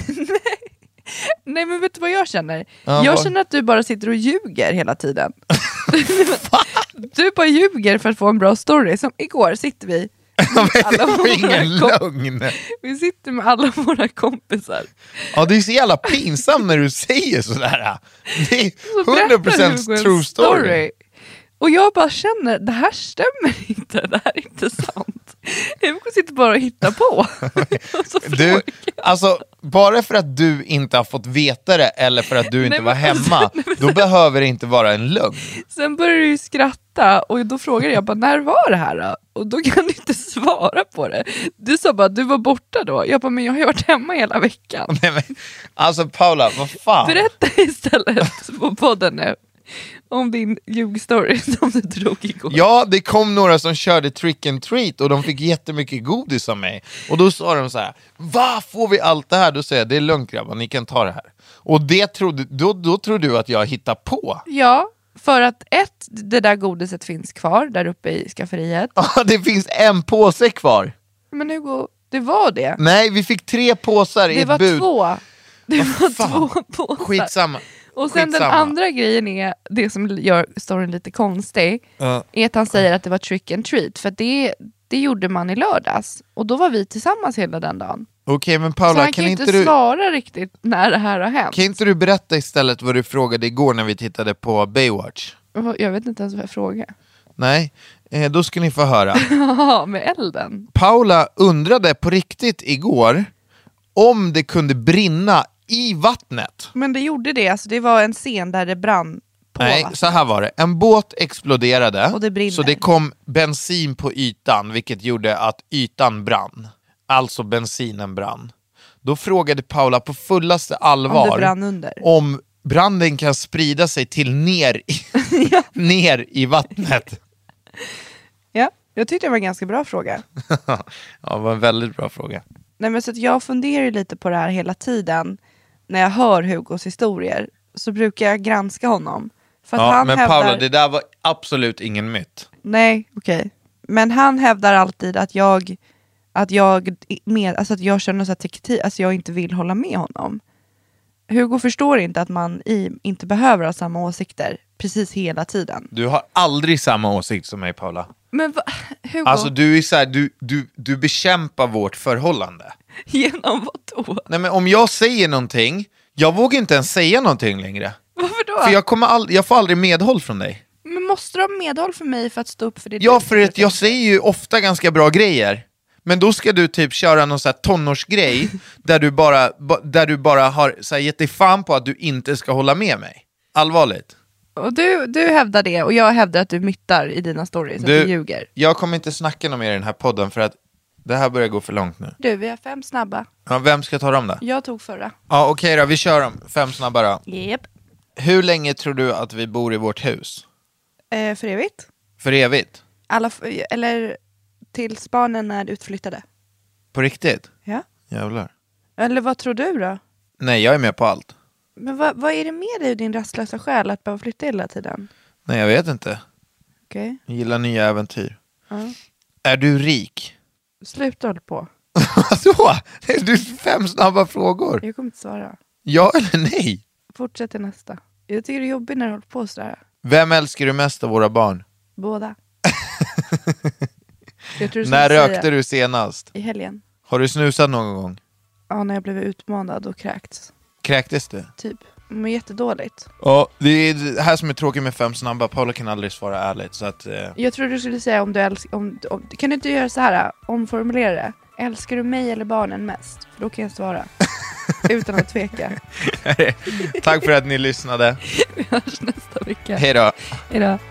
Speaker 4: Nej men vet du vad jag känner?
Speaker 3: Ja,
Speaker 4: jag
Speaker 3: vad-
Speaker 4: känner att du bara sitter och ljuger hela tiden. du bara ljuger för att få en bra story. Som igår sitter vi,
Speaker 3: Ja, men det
Speaker 4: Alla
Speaker 3: var ingen
Speaker 4: våra
Speaker 3: lögn.
Speaker 4: vi sitter med alla våra kompisar.
Speaker 3: Ja, det är så jävla pinsamt när du säger sådär. Det
Speaker 4: Så berättar
Speaker 3: är
Speaker 4: du
Speaker 3: 100%
Speaker 4: en
Speaker 3: true story.
Speaker 4: Och jag bara känner, det här stämmer inte, det här är inte sant. Hugo sitter bara och hittar på. Och så
Speaker 3: Du,
Speaker 4: frågar
Speaker 3: alltså, bara för att du inte har fått veta det eller för att du inte
Speaker 4: men
Speaker 3: var
Speaker 4: alltså,
Speaker 3: hemma, då behöver det inte vara en lögn.
Speaker 4: Sen börjar du ju skratta och då frågar jag bara när var det här då? Och då kan du inte svara på det. Du sa bara du var borta då. Jag bara men jag har ju varit hemma hela veckan.
Speaker 3: Nej, men, alltså Paula, vad fan?
Speaker 4: Berätta istället på podden nu om din ljugstory som du drog igår.
Speaker 3: Ja, det kom några som körde trick and treat och de fick jättemycket godis av mig. Och då sa de så här, va får vi allt det här? Då säger jag, det är lugnt grabbar, ni kan ta det här. Och det trodde, då, då trodde du att jag hittade på.
Speaker 4: Ja, för att ett, det där godiset finns kvar där uppe i skafferiet.
Speaker 3: Ja, det finns en påse kvar.
Speaker 4: Men Hugo, det var det.
Speaker 3: Nej, vi fick tre påsar i
Speaker 4: Det
Speaker 3: ett
Speaker 4: var
Speaker 3: bud.
Speaker 4: två. Det var
Speaker 3: fan.
Speaker 4: två påsar.
Speaker 3: Skitsamma.
Speaker 4: Och sen
Speaker 3: Skitsamma.
Speaker 4: den andra grejen är, det som gör storyn lite konstig,
Speaker 3: Ja.
Speaker 4: är att han säger att det var trick and treat, för att det, det gjorde man i lördags. Och då var vi tillsammans hela den dagen.
Speaker 3: Okej, men
Speaker 4: Så
Speaker 3: Paula,
Speaker 4: han
Speaker 3: kan
Speaker 4: kan ju
Speaker 3: inte,
Speaker 4: inte
Speaker 3: du,
Speaker 4: svara riktigt när det här har hänt.
Speaker 3: kan inte du berätta istället vad du frågade igår när vi tittade på Baywatch?
Speaker 4: Vad- Jag vet inte ens vad jag frågar.
Speaker 3: Nej, eh, då ska ni få höra.
Speaker 4: Jaha, med elden?
Speaker 3: Paula undrade på riktigt igår om det kunde brinna i vattnet.
Speaker 4: Men det gjorde det, alltså det var en scen där det brann på.
Speaker 3: Nej,
Speaker 4: vattnet.
Speaker 3: så här var det. En båt exploderade,
Speaker 4: Och det brinner.
Speaker 3: så det kom bensin på ytan, vilket gjorde att ytan brann. Alltså bensinen brann. Då frågade Paula på fullaste allvar
Speaker 4: Om det brann under.
Speaker 3: om branden kan sprida sig till ner i, ner i vattnet.
Speaker 4: Ja, jag tyckte det var en ganska bra fråga.
Speaker 3: ja, det var en väldigt bra fråga.
Speaker 4: Nej, men så att jag funderar ju lite på det här hela tiden. När jag hör Hugos historier så brukar jag granska honom. För att
Speaker 3: Ja,
Speaker 4: han
Speaker 3: men
Speaker 4: hävdar...
Speaker 3: Paula, det där var absolut ingen myt.
Speaker 4: Nej, okej. Men han hävdar alltid att jag, att jag, med, alltså att jag kör någon sån här teknik, alltså jag inte vill hålla med honom. Hugo förstår inte att man i, inte behöver ha samma åsikter precis hela tiden.
Speaker 3: Du har aldrig samma åsikt som mig, Paula.
Speaker 4: Men va, Hugo,
Speaker 3: Alltså, du, är så här, du, du, du bekämpar vårt förhållande.
Speaker 4: genom vad då?
Speaker 3: Nej men om jag säger någonting, jag vågar inte ens säga någonting längre.
Speaker 4: Varför då?
Speaker 3: För jag, kommer all, jag får aldrig medhåll från dig.
Speaker 4: Men måste du ha medhåll för mig för att stå upp för det?
Speaker 3: Ja,
Speaker 4: du
Speaker 3: för
Speaker 4: tycker
Speaker 3: att jag säger ju ofta ganska bra grejer. Men då ska du typ köra någon så här tonårsgrej där du bara, ba- där du bara har så här gett dig fan på att du inte ska hålla med mig. Allvarligt.
Speaker 4: Och du, du hävdar det och jag hävdar att du myttar i dina stories, att du ljuger.
Speaker 3: jag kommer inte snacka något mer i den här podden för att det här börjar gå för långt nu.
Speaker 4: Du, vi har fem snabba.
Speaker 3: Ja, vem ska ta dem då?
Speaker 4: Jag tog förra.
Speaker 3: Ja, okej då, vi kör dem. Fem snabba då.
Speaker 4: Yep.
Speaker 3: Hur länge tror du att vi bor i vårt hus?
Speaker 4: Eh, för evigt.
Speaker 3: För evigt?
Speaker 4: Alla, f- eller tills barnen är utflyttade.
Speaker 3: På riktigt?
Speaker 4: Ja.
Speaker 3: Jävlar.
Speaker 4: Eller vad tror du då?
Speaker 3: Nej, jag är med på allt.
Speaker 4: Men vad, vad är det med dig och din rastlösa själ att behöva flytta hela tiden?
Speaker 3: Nej, jag vet inte.
Speaker 4: Okej.
Speaker 3: Jag gillar nya äventyr.
Speaker 4: Ja.
Speaker 3: Är du rik?
Speaker 4: Sluta hålla på.
Speaker 3: Vadå? Det är du fem snabba frågor.
Speaker 4: Jag kommer inte svara.
Speaker 3: Ja eller nej?
Speaker 4: Fortsätt till nästa. Jag tycker det är jobbigt när du håller på sådär.
Speaker 3: Vem älskar du mest av våra barn?
Speaker 4: Båda. jag tror du
Speaker 3: När
Speaker 4: skulle
Speaker 3: rökte
Speaker 4: säga
Speaker 3: du senast?
Speaker 4: I helgen.
Speaker 3: Har du snusat någon gång?
Speaker 4: Ja, när jag blev utmanad och kräkts.
Speaker 3: Kräktes du?
Speaker 4: Typ. Men jättedåligt.
Speaker 3: Ja, det är det här som är tråkigt med fem snabba. Paula kan aldrig svara ärligt. Så att, eh,
Speaker 4: Jag tror du skulle säga om du älskar... Om, om, kan du inte göra så här? Omformulera det. Älskar du mig eller barnen mest? För då kan jag svara. Utan att tveka.
Speaker 3: tack för att ni lyssnade.
Speaker 4: Vi hörs nästa vecka.
Speaker 3: Hej då.
Speaker 4: Hej då.